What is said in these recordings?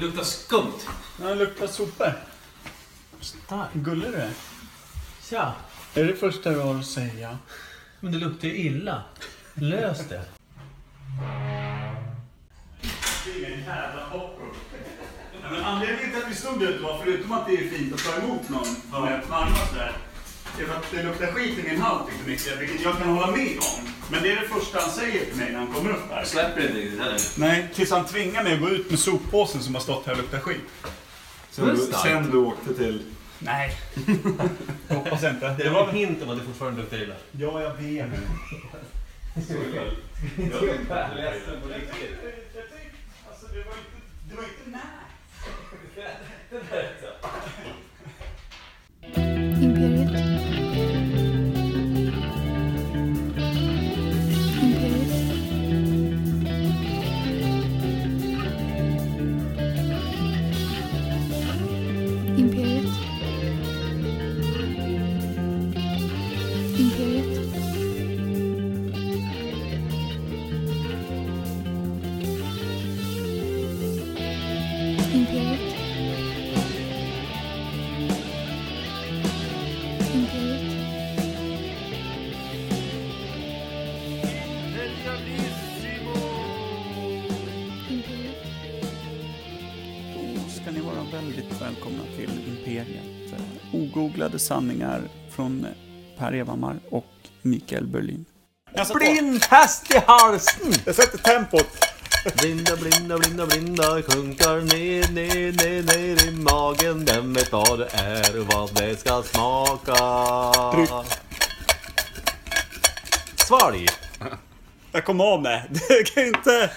luktar skumt. Ja, det luktar sopor. Stark. Gullig du är. Ja, Är det första du har att säga? men det luktar ju illa. Lös det. Nej, men anledningen till att vi stod ute var, förutom att det är fint att ta emot någon med öppna armar sådär, är för att det luktar skit i min hals lite mycket, vilket jag kan hålla med om. Men det är det första han säger till mig när han kommer upp här. Släpper inte riktigt heller. Nej, tills han tvingar mig att gå ut med soppåsen som har stått här och luktat skit. Sen du, sen du åkte till... Nej. Hoppas jag inte. Det var en hint om att det fortfarande luktar illa. Ja, jag vet. Alltså, det var inte, det var inte när. Imperiet. Imperiet. Imperiet. Imperiet. Imperiet. Imperiet. Imperiet. Då ska ni vara väldigt välkomna till Imperiet. Ogooglade sanningar från Per Evhammar och Mikael Berlin. Jag satt, Blind häst i halsen! Jag sätter tempot. Blinda, blinda, blinda, blinda sjunkar ner, ner, ner, ner i magen. Vem vet vad det är och vad det ska smaka? Svalg! Jag kom av med. Det kan ju inte...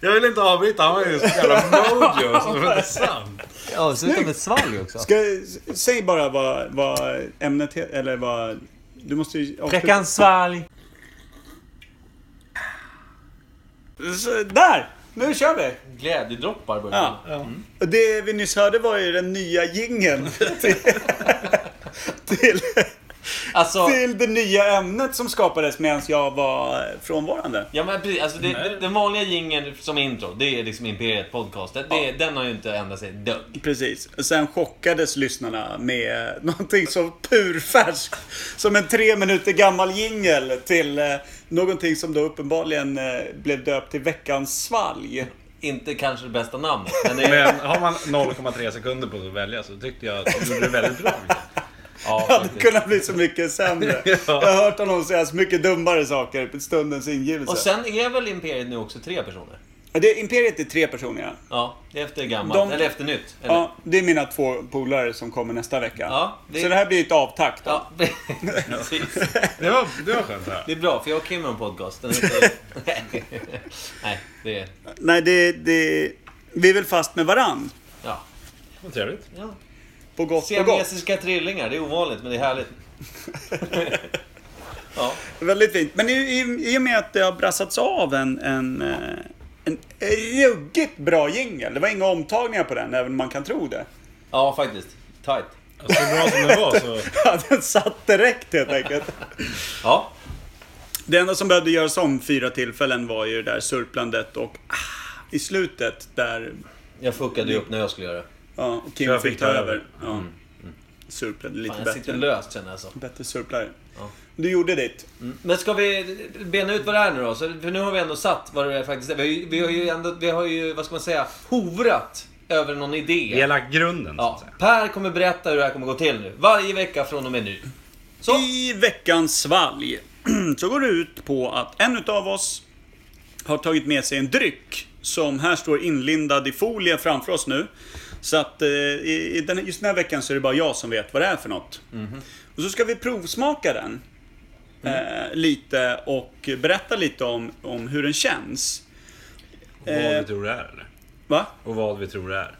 Jag vill inte avbryta, han var ju så jävla mojo. Så det var inte sant. Ja, sluta med svalg också. Ska, säg bara vad, vad ämnet heter, eller vad... Du måste ju... Veckans svalg! Så, Där! Nu kör vi! Glädjedroppar börjar Ja. Och det vi nyss hörde var ju den nya jingeln till, till, Alltså, till det nya ämnet som skapades medan jag var frånvarande. ja, men precis, alltså det, det, den vanliga jingeln som intro, det är liksom Imperiet Podcast. Det, det- Den har ju inte ändrat sig ett dugg. Precis. Och sen chockades lyssnarna med någonting så purfärskt som en tre minuter gammal jingel till eh, någonting som då uppenbarligen eh, blev döpt till Veckans svalg. Inte kanske det bästa namnet, men det är... Men har man 0,3 sekunder på sig att välja så tyckte jag att du gjorde det väldigt bra. ja, Det hade faktiskt. kunnat bli så mycket sämre. Ja. Jag har hört honom säga så mycket dummare saker på stundens ingivelse. Och sen är väl Imperiet nu också tre personer? Det, Imperiet är tre personer ja. Ja, det är efter gammalt. De- Eller efter nytt. Eller? Ja, det är mina två polare som kommer nästa vecka. Ja, det- Så det här blir ett avtakt då. Ja, precis. Det var, det var skönt det här. Det är bra, för jag och Kim har en podcast. Den heter... Nej, det är... Nej, det, det... Vi är väl fast med varann. Ja. Vad trevligt. ja. På gott och gott. Siamesiska trillingar, det är ovanligt men det är härligt. ja. Väldigt fint. Men i, i, i och med att det har brassats av en, en, eh, en ruggigt bra jingel. Det var inga omtagningar på den, även om man kan tro det. ja, faktiskt. Tight. Alltså, så bra som det var så... Ja, den satt direkt helt enkelt. Ja. Det enda som behövde göras om fyra tillfällen var ju det där surplandet och ah, i slutet där Jag fuckade ju upp när jag skulle göra det. ja, och Så Kim jag fick fick ta ta över. över. Ja. Surplade lite Fan, jag sitter bättre. löst känner jag så. Bättre surplare. Ja. Du gjorde ditt. Men ska vi bena ut vad det är nu då? Så, för nu har vi ändå satt vad det faktiskt är. Vi har ju, vi har ju, ändå, vi har ju vad ska man säga, hovrat över någon idé. Vi har lagt grunden, så att Ja, säga. per kommer berätta hur det här kommer gå till nu. Varje vecka från och med nu. Så. I veckans svalg så går det ut på att en utav oss har tagit med sig en dryck som här står inlindad i folie framför oss nu. Så att eh, i, i den, just den här veckan så är det bara jag som vet vad det är för något. Och så ska vi provsmaka den eh, lite och berätta lite om, om hur den känns. Och vad Eh. vi tror det är, eller? Va? Och vad vi tror det är.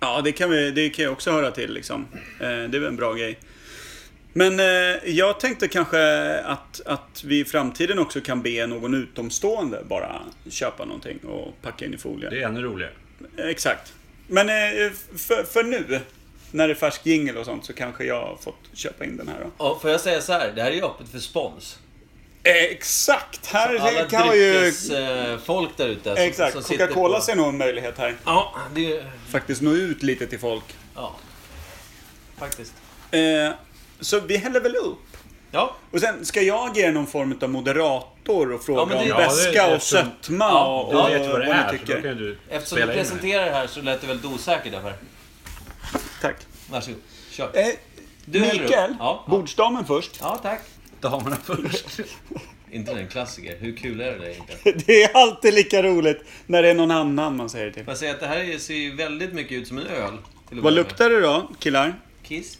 Ja, det kan, vi, det kan jag också höra till liksom. Eh, det är väl en bra grej. Men eh, jag tänkte kanske att, att vi i framtiden också kan be någon utomstående bara köpa någonting och packa in i folie. Det är ännu roligare. Eh, Exakt. Men eh, för, för nu, när det är färsk jingel och sånt, så kanske jag har fått köpa in den här då. Och får jag säga så här, det här är ju öppet för spons. Eh, Exakt! Här Alla kan man ju... dryckesfolk där ute. som- som Exakt, sitter Coca-Cola på- ser nog en möjlighet här. Ja, det är ju... Faktiskt nå ut lite till folk. Ja. Faktiskt. Eh, så vi häller väl upp. Ja. Och sen ska jag ge er någon form av moderator och fråga Ja, men det- om Ja, det- väska och eftersom- sötma och, Du och vet vad det ni är, så då tycker. kan du Eftersom spela du in det. presenterar det här så lät du väldigt osäker därför. Tack. Varsågod. Kör. Eh, Du häller upp. Mikael, Ja, ja. bordsdamen först. Ja, tack. Damerna först. Inte en klassiker. Hur kul är det där egentligen? Det är alltid lika roligt när det är någon annan man säger till. Får jag säga att det här är- ser ju väldigt mycket ut som en öl. till att Vad börja med. luktar det då, killar? Kiss.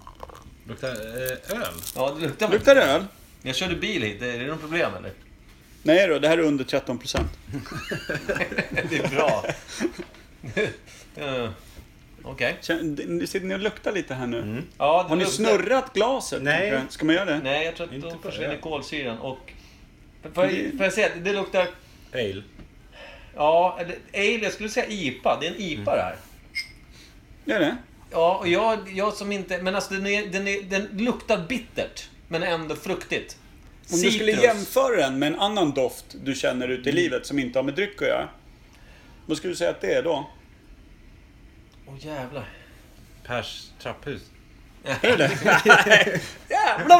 Luktar eh, öl. Ja, det luktar Luktar det öl? Jag körde bil hit. Är det något problem eller? Nej då, det här är under 13 procent. Det är bra. Eh, Okej. Sitter ni och luktar lite här nu? Ja, det Har ni luktar- snurrat glaset? Mm. Nej. tänker jag? Ska man göra det? Nej, jag tror att då Inte på försvinner öl. kolsyran och... Får jag, får jag säga att det luktar... Ale. Ja, eller ale. Jag skulle säga IPA. Det är en Mm. IPA det här. Gör det? Ja, och jag, jag som inte... Men alltså den, är, den, är, den luktar bittert, men ändå fruktigt. Om du skulle jämföra den med en annan doft du känner ute i Mm. livet som inte har med dryck att göra. Vad skulle du säga att det är då? Åh jävlar. Pers trapphus. Jävlar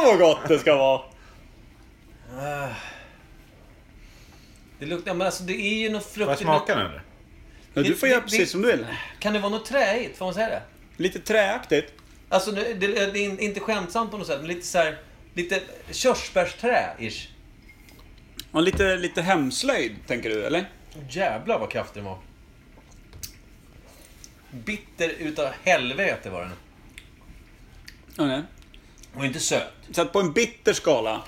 vad gott det ska vara! Det luktar... Men alltså det är ju något Får jag fruktigt... smaka den eller? Men du Det- får göra det- precis det- som du vill. Kan det vara något träigt? Får man säga det? Lite träaktigt. Alltså nu- det, det är inte skämtsamt på något sätt, men lite så här... Lite körsbärsträ-ish. Och lite, lite hemslöjd, tänker du eller? Jävlar vad kraftig den var. Bitter utav helvete var den. Ja, nej. Och inte söt. Så att på en bitter skala.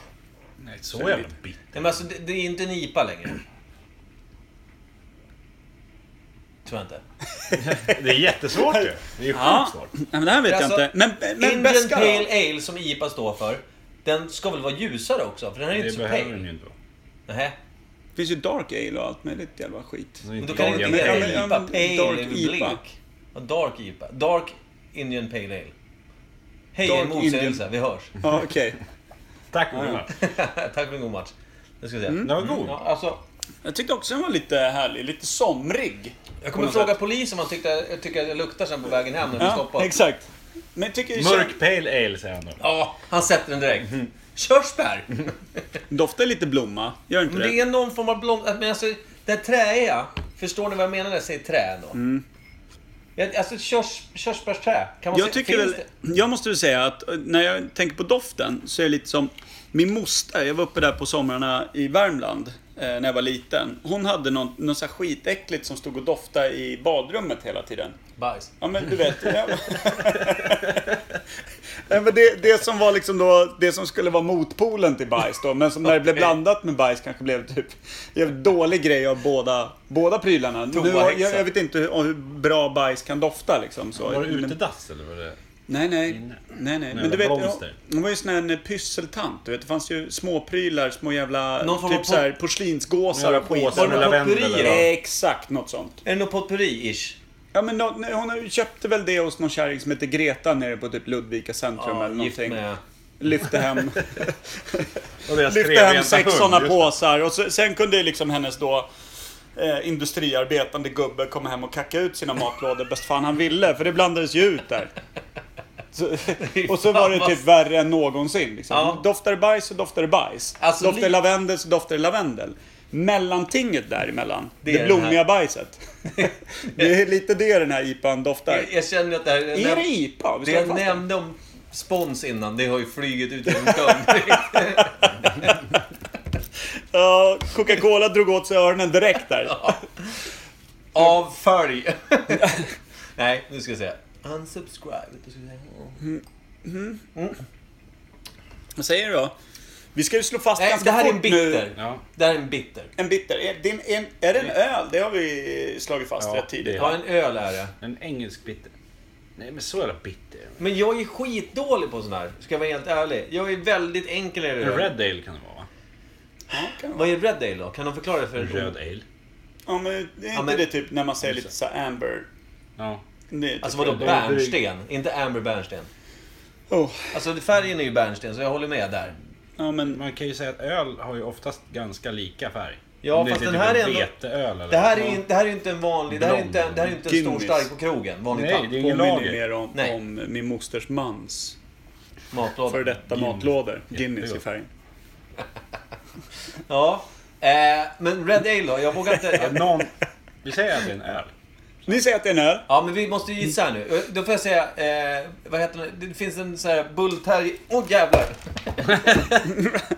Nej, så jävla bit. Nej, men alltså, det, det är inte en IPA längre. Tror jag inte. Det är jättesvårt ju. Det är Ja. sjukt Nej, svårt. men det här vet jag Alltså, inte. Men, men Indian beska Pale då? Ale som IPA står för. Den ska väl vara ljusare också? För den här är inte Det så behöver den pale. ju inte vara. Nähä. Det finns ju dark ale och allt möjligt jävla skit. Så Men då inte kan det lagen inte men- heta ja, IPA. men- Pale dark dark är IPA. IPA. blek. Ja, Dark IPA. Dark Indian Pale Ale. Hej, Dark en motsägelse. Indian- Vi hörs. Ja, okej. Tack Ola. Tack för en god match. Det ska jag säga. Den var god. Ja, alltså, Mm. Jag tyckte också den var lite härlig. Lite somrig. jag kommer På något fråga polisen om han tyckte, jag tycker att jag luktar sen på vägen hem när vi Ja, stoppar. exakt. Men jag tycker Mörk pale ale säger han då. Ja, han sätter den direkt. Körsbär! Doftar lite blomma, gör inte Men det? det är någon form av blom... Men alltså, det här träiga. Förstår ni vad jag menar när jag säger trä ändå? Mm. Jag, alltså körs, körsbärsträ. Kan man Jag se- tycker Alltså, finns väl, det- jag måste väl säga att eh, när jag tänker på doften så är det lite som min moster, jag var uppe där på somrarna i Värmland eh, när jag var liten. Hon hade något, något så här skitäckligt som stod och doftade i badrummet hela tiden. Bajs. Ja men du vet. Ja. Nej, men det, det som var liksom då, det som skulle vara motpolen till bajs då, men som när det blev blandat med bajs kanske blev typ en dålig grej av båda, båda prylarna. Nu, har- jag, jag vet inte hur, hur bra bajs kan dofta liksom. Så. Var det Men- utedass eller var det? Nej, nej. nej, nej. Men jävla du vet, blomster. ja, hon var ju sån här en pysseltant. Du vet, det fanns ju små prylar, små jävla Någon form av typ po- så här, porslinsgåsar Ja, och skit. påsar med lavendel potpurri, eller? eh. Exakt, något sånt. Är det något potpurri-ish? Ja, men nå- nej, hon har ju- köpte väl det hos någon kärring som heter Greta nere på typ Ludvika centrum eller gift någonting. med... Lyfte hem, Och deras lyfte trebenta hem sex hund, sådana just det. påsar. Och så, sen kunde ju liksom hennes då eh, industriarbetande gubbe komma hem och kacka ut sina matlådor bäst fan han ville. För det blandades ju ut där. Så, och så var det typ värre än någonsin. Liksom. Ja. Doftar det bajs så doftar det bajs. Alltså, doftar det li- lavendel så doftar det lavendel. Mellantinget däremellan, det, Det det är den här- blommiga bajset. det är lite det den här IPan doftar. Jag, jag känner att det här... Är det IPA? Vi Det ska jag fast det. nämnde om spons innan, det har ju flugit ut genom dörren. Ja, Coca-Cola drog åt sig öronen direkt där. Av färg. Nej, nu ska jag säga. Unsubscribe. Då ska jag säga. Vad säger du då? Vi ska ju slå fast Nej, ganska det här är fort en nu. bitter. Ja. Det här är en bitter. En bitter. Är det en, en, är det en öl? Det har vi slagit fast Ja, rätt tidigt. det är- Ja, en öl är det. En engelsk bitter. Nej men så jävla bitter. Men jag är skitdålig på sån här, ska jag vara helt ärlig. Jag är väldigt enkel i det En där. red ale kan det vara va? Ja, kan det vara. Vad är red ale då? Kan de förklara det för en Röd ale. ja, men det är inte men- det typ när man säger lite så här amber? Ja. Det är typ- Alltså vadå Det är en brygg. bärnsten? Inte amber bärnsten. oh, Alltså färgen är ju bärnsten, så jag håller med där. Ja, men Man kan ju säga att öl har ju oftast ganska lika färg. Ja, Om det fast är den typ här en är ändå- Veteöl eller Det här är ju inte, det här är ju inte en vanlig... Det här är Blond. inte, det här är inte en stor Guinness. stark på krogen. Vanlig Nej, det är tapp. ingen påminner lager. mer om, Nej. om min mosters mans Matlåda. före detta Guinness. matlådor. Guinness i Jättegott. färgen. Ja. Eh, men Red Ale då? Jag vågar Ja, inte... Någon... Vi säger att det är en öl. Ni säger att det är en öl. Ja, men vi måste ju gissa här nu. Då får jag säga... Eh, vad heter den? Det finns en sån här bullterrier... Åh oh, jävlar!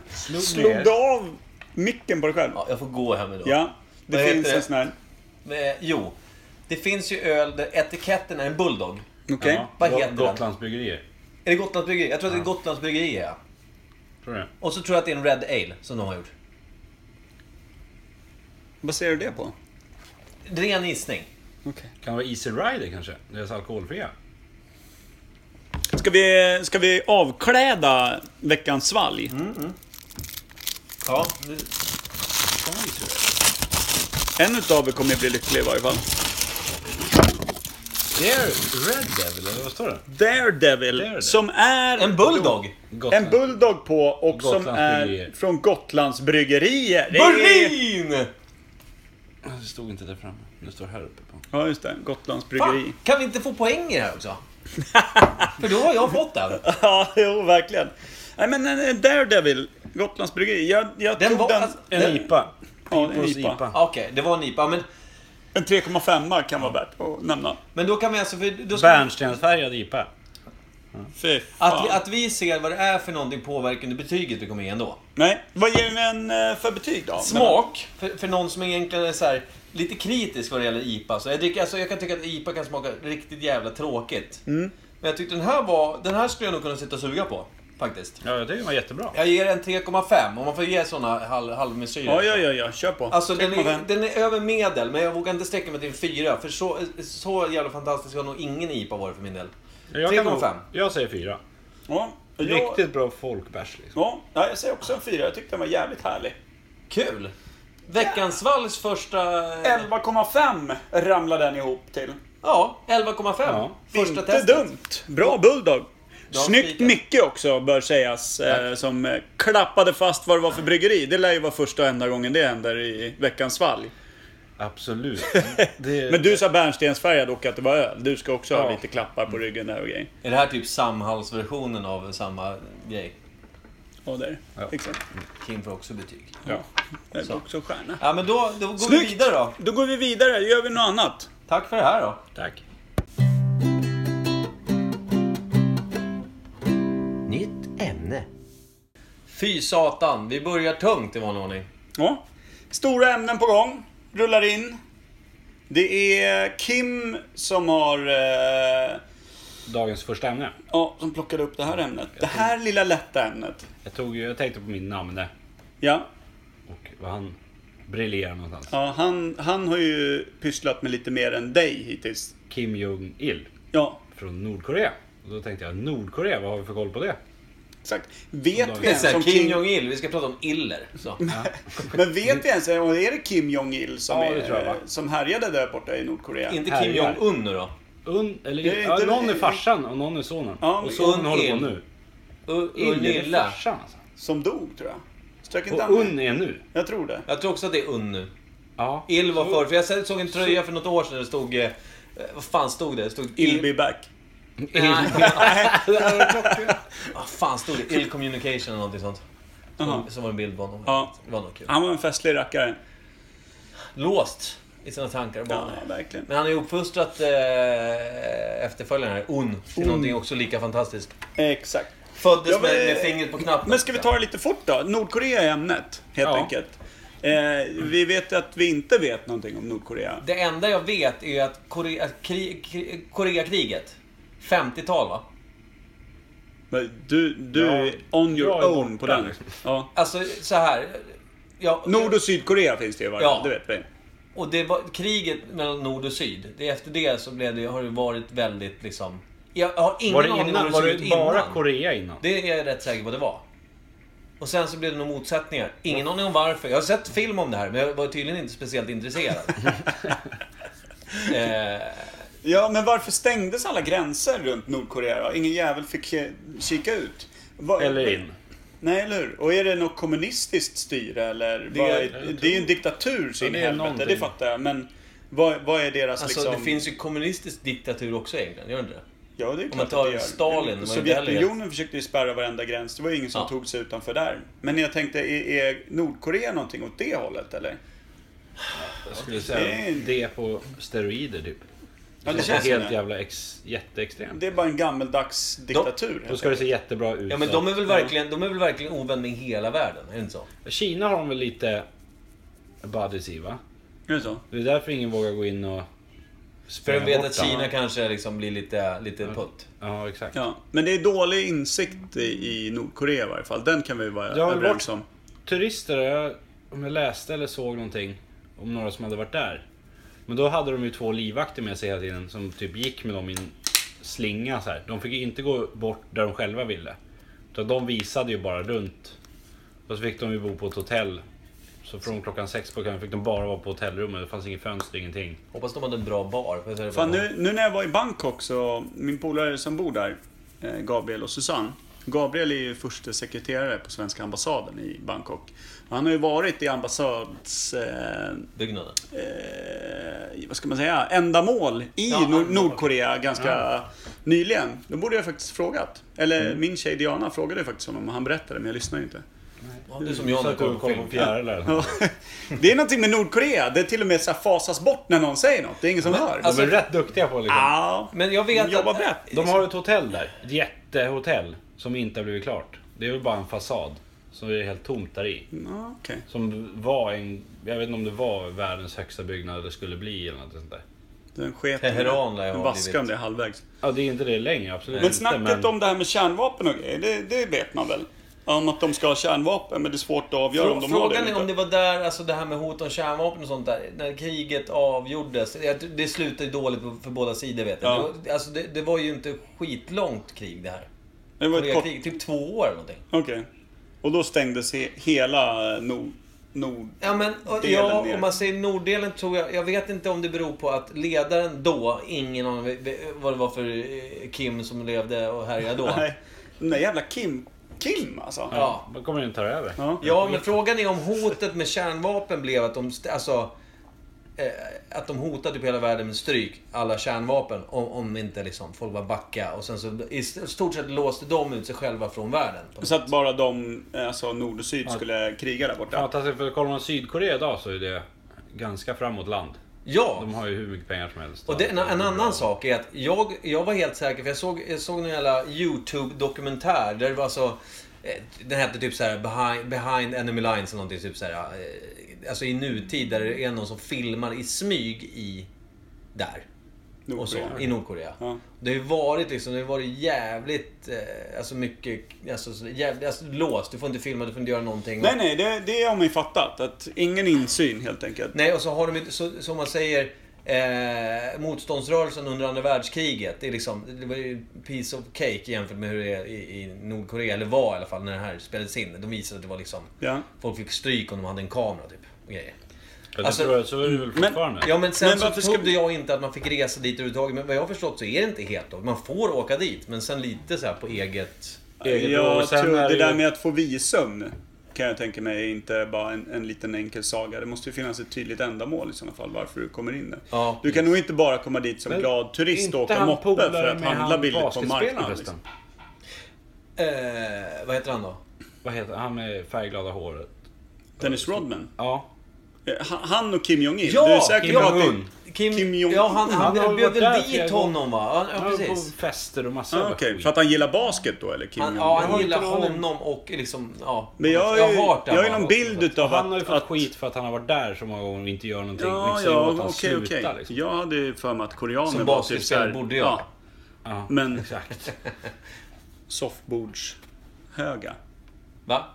Slog Slog du av micken på dig själv? Ja, jag får gå här nu då. Ja, det Vad heter finns det? en sån här. Eh, jo. Det finns ju öl där etiketten är en bulldog. Okej. Ja, Vad Got- heter den? Gotlandsbryggerier. Är det Gotlands bryggeri? Jag tror att det är Gotlands bryggeri, ja. Tror du det? Och så tror jag att det är en Red Ale som de har gjort. Vad ser du det på? Ren gissning. Okej. Kan det vara Easy Rider kanske? Deras alkoholfria. Ska, vi, ska vi avkläda veckans svalg? Ja. Kan vara Easy Rider. En utav er kommer ju bli lycklig i varje fall. Det är Red Devil, eller vad står det? Daredevil, Daredevil. som är... En bulldog! Gotland. En bulldog på och som Gotlands är bryggerier. från Gotlands bryggerier. Det är- Berlin! Det stod inte där framme. Det står här uppe på. Ja, just det. Gotlands bryggeri. Fan, kan vi inte få poänger här också? För då har jag fått den. Ja, jo, verkligen. Nej, men eh, Daredevil, Gotlands bryggeri. Jag, jag Den tog var- den... alltså, En Den- IPA. Ja, en People's IPA. Ja, Okej, det var en IPA. Ja, Men, En 3,5 kan vara värt att nämna. men då kan vi alltså... För, då ska, Bärnstensfärgad IPA. Fy att, vi, fan. att vi ser vad det är för någonting påverkar under betyget vi kommer ge ändå. Nej, vad ger den eh, för betyg då? Smak, för, för någon som egentligen är så här, lite kritisk vad det gäller IPA. Så jag, dricker, alltså, jag kan tycka att IPA kan smaka riktigt jävla tråkigt. Mm. Men jag tyckte den här var... Den här skulle jag nog kunna sitta och suga på. Faktiskt. Ja, jag tycker den var jättebra. Jag ger den 3,5 om man får ge såna halv, halvmesyrer. Ja, ja, ja, ja. Kör på. Alltså den är, 3,5. den är över medel, men jag vågar inte sträcka mig till en fyra. För så, så jävla fantastisk har nog ingen IPA varit för min del. Jag kan nog- 3,5. Jag säger fyra. Ja, jag- Riktigt bra folkbärs liksom. Ja, ja, jag säger också en fyra. Jag tyckte den var jävligt härlig. Kul! Veckans valls första... 11,5 ramlade den ihop till. Ja, 11,5. Ja. Första Inte testet. dumt. Bra Bulldog. Bra Snyggt spikat. Micke också, bör sägas. Eh, som eh, klappade fast vad det var för bryggeri. Det lär ju vara första och enda gången det händer i veckans valg. Absolut. Det... Men du sa bärnstensfärgad och att det var öl. Du ska också ha Ja. lite klappar på ryggen där och grejer. Är det här typ Samhalsversionen av samma grej? Ja, där. Ja. Exakt. Kim får också betyg. Ja. Det är också stjärna. Ja, men då, då går vi Snyggt! vidare då. Då går vi vidare. Gör vi något annat? Tack för det här då. Tack. Nytt ämne. Fy satan, vi börjar tungt i vanlig ordning. Ja. Stora ämnen på gång. Rullar in. Det är Kim som har... Eh, Dagens första ämne. ja, som plockade upp det här ämnet. Det här lilla lätta ämnet. Jag, tog, ju- jag tänkte på min namne Ja. och vad han briljerar någonstans. ja han, han har ju pysslat med lite mer än dig hittills. Kim Jong-Il Ja, från Nordkorea. Och då tänkte jag, Nordkorea, vad har vi för koll på det? exakt. Vet vi Det är ens så här, om Kim Kim... Jong-Il, vi ska prata om iller. Så. Men vet vi ens om det är det Kim Jong-Il som, Ja, det tror jag, va? är, som härjade där borta i Nordkorea? Inte Kim Herregud. Jong-Un nu då. Un, eller, Det är ja, inte- någon är farsan och någon är sonen. Ja, och men- sonen håller på Un- nu. Un- Il är Unilla. farsan alltså. Som dog, tror jag. Strök inte han Och med? Un är nu. Jag tror det. Jag tror också att det är Un nu. Ja. Il var Så- förr, för jag såg en tröja för något år sedan där det stod... eh, Vad fan stod det? Det stod... I'll be back. Vad fan stod det? Il Communication eller någonting sånt. Som, som var en bild på honom. Ja. Det var nog kul. Han var en festlig rackare. Låst i sina tankar och Ja, banor. verkligen. Men han har ju uppfostrat eh, efterföljaren här, Un, till någonting också lika fantastiskt. Exakt. Föddes Ja, men- med, med fingret på knappen. Men ska vi ta det lite fort då? Nordkorea är ämnet, helt Ja. enkelt. Eh, vi vet att vi inte vet någonting om Nordkorea. Det enda jag vet är att Korea, att kri, kri, Koreakriget, 50-tal va? Men Du, du Ja, är on your jag är own på borta. den. Ja. Alltså så här. Ja, Nord och Sydkorea finns det ju i varje Ja. fall, det vet vi. Och det var kriget mellan nord och syd. Det är efter det så blev det, har det varit väldigt liksom... Jag har ingen Var det, aning om hur innan, var såg ut det bara innan. Korea innan? Det är jag rätt säker på det var. Och sen så blev det nog motsättningar. Ingen aning om varför. Jag har sett film om det här, men jag var tydligen inte speciellt intresserad. eh, Ja, men varför stängdes alla gränser runt Nordkorea då? Ingen jävel fick eh, kika ut. Va- Eller in? Nej, eller hur? Och är det något kommunistiskt styre eller? Det vad är- är, det är ju en diktatur så Ja, in i det är helvete, någonting. det fattar jag. Men vad, vad är deras Alltså liksom... det finns ju kommunistisk diktatur också egentligen, gör det inte det? Ja, det är klart man tar att det gör. Stalin, var ju Sovjetunionen försökte ju spärra varenda gräns. Det var ju ingen som Ja. tog sig utanför där. Men jag tänkte, är, är Nordkorea någonting åt det hållet eller? Jag skulle Det säga är- det på steroider typ. Ja, det Det känns känns som helt det. jävla ex, jätteextremt. Det är bara en gammeldags diktatur. Då ska det se jättebra ut. Ja men så de är väl verkligen, de är väl verkligen ovän med hela världen, är det inte så? att- Kina har de väl lite buddies i va? Är det så? Det är därför ingen vågar gå in och... För spränga de vet bort att Kina dem. kanske liksom blir lite, lite putt. Ja, exakt. Ja. Men det är dålig insikt i i Nordkorea i varje fall. Den kan vi vara Ja, men överens vart- om. Turister, jag, om jag läste eller såg någonting om några som hade varit där. Men då hade de ju två livvakter med sig hela tiden som typ gick med dem i en slinga så här. De fick ju inte gå bort där de själva ville. Utan de visade ju bara runt. Och så fick de ju bo på ett hotell. Så från klockan sex på kvällen fick de bara vara på hotellrummet. Det fanns inget fönster, ingenting. Hoppas de hade en bra bar. för jag säger det Fan, bara. nu, nu när jag var i Bangkok så, min polare som bor där, eh, Gabriel och Susanne. Gabriel är ju förste sekreterare på svenska ambassaden i Bangkok. Han har ju varit i ambassads... Eh, Byggnaden. eh, vad ska man säga? Ändamål i Ja, Nor- ändamål. Nordkorea ganska nyligen. Då borde jag faktiskt frågat. Eller Mm. min tjej Diana frågade faktiskt honom och han berättade men jag lyssnade inte. Ja, det är som jag när jag kollar på film. fjärilar. Ja. Det är någonting med Nordkorea. Det till och med så här fasas bort när någon säger något. Det är ingen som hör. alltså- De är rätt duktiga på liksom. ja. Men jag vet Jobba att... brett. De har ett hotell där. Ett jättehotell. Som inte har blivit klart. Det är väl bara en fasad. Som är helt tomt där i. Ja, okej. Som var en, jag vet inte om det var världens högsta byggnad det skulle bli eller något sånt där. Den sket Teheran lär jag Den ha vaskade om blivit. det halvvägs. Ja det är inte det längre, absolut Men inte. snacket om det här med kärnvapen och grejer, det, det vet man väl? Om att de ska ha kärnvapen, men det är svårt att avgöra om de har det Frågan eller är om inte. det var där, alltså det här med hot om kärnvapen och sånt där, när kriget avgjordes. Jag tror- Det slutade ju dåligt för båda sidor vet jag. Ja. Det, var, alltså det, det var ju inte skitlångt krig det här. Det var ett kort... Koreakrig, typ två år eller någonting. Okej. Och då stängdes he- hela eh, Nord... nord... Ja, men och, Delen ja, ner. om man säger norddelen tror jag... Jag vet inte om det beror på att ledaren då, ingen aning ve- ve- vad det var för eh, Kim som levde och härjade då. Nej. Den där jävla Kim... Kim alltså? Ja. Då kommer den ta över. Ja. Ja, men frågan är om hotet med kärnvapen blev att de... st- Alltså, eh, att de hotade typ hela världen med stryk, alla kärnvapen, om, om inte liksom folk bara backa Och sen så i st- stort sett låste de ut sig själva från världen. på något Så att bara de, eh, alltså nord och syd, skulle kriga där borta? Fantastiskt, för kollar man Sydkorea idag så är det ganska framåt land. Ja! De har ju hur mycket pengar som helst. Och det, en, en annan sak är att jag, jag var helt säker, för jag såg, jag såg någon jävla YouTube-dokumentär där det var så... eh, Den hette typ så här behind, behind enemy lines eller någonting. Typ så här, eh, alltså i nutid där det är någon som filmar i smyg i... Där. Och så, Nordkorea. I Nordkorea. Ja. Det har ju varit liksom, det har varit jävligt... Eh, alltså mycket... Alltså, så jävligt, alltså låst. Du får inte filma, du får inte göra någonting. Nej, nej, det, det har man ju fattat. Att ingen insyn helt enkelt. Nej, och så har de ju, så, som man säger, eh, motståndsrörelsen under andra världskriget. Det, är liksom, det var ju piece of cake jämfört med hur det är i, i Nordkorea, eller var i alla fall, när det här spelades in. De visade att det var liksom, Ja. folk fick stryk om de hade en kamera typ. Och grejer. Ja, det Alltså- tror jag, så är det Mm. väl fortfarande. Ja men sen Men så varför trodde skulle- jag inte att man fick resa dit överhuvudtaget. Men vad jag har förstått så är det inte helt då. Man får åka dit, men sen lite så här på eget... Eget- och Jag sen tror är det ju- där med att få visum kan jag tänka mig är inte bara en, en liten enkel saga. Det måste ju finnas ett tydligt ändamål i sådana fall varför du kommer in där. Ja, du kan nog inte bara komma dit som Men glad turist inte och åka han moppe polare för att med handla han billigt på basketspelaren marknaden. förresten? Liksom. Eh, vad heter han då? Vad heter han med färgglada håret? liksom. Dennis Rodman. Ja. Eh, ha- Han och Kim Jong-In. Ja, du är säker Kim på att Jong-Un. det... Kim, Kim Jong-Un. Ja, han, Han han, har han ju bjöd varit väl där flera dit gånger. honom va? Ja, Han ja var på precis. fester och massa Ah, jävla Okej, skit. för att han gillar basket då eller Kim Han, Jong-Un? ja, han har gillar inte någon aning. honom och liksom... Ja, Men jag har ju, hört det jag har ju bara. någon bild utav att... Han har ju fått att- skit för att han har varit där så många gånger och inte gör någonting. Ja, Inte säger ja, åt han okej, sluta, okej. liksom. Jag hade ju för mig att koreaner Som var typ basketspelare såhär- borde göra. Ja, Ja, men- Exakt. soffbordshöga. Va?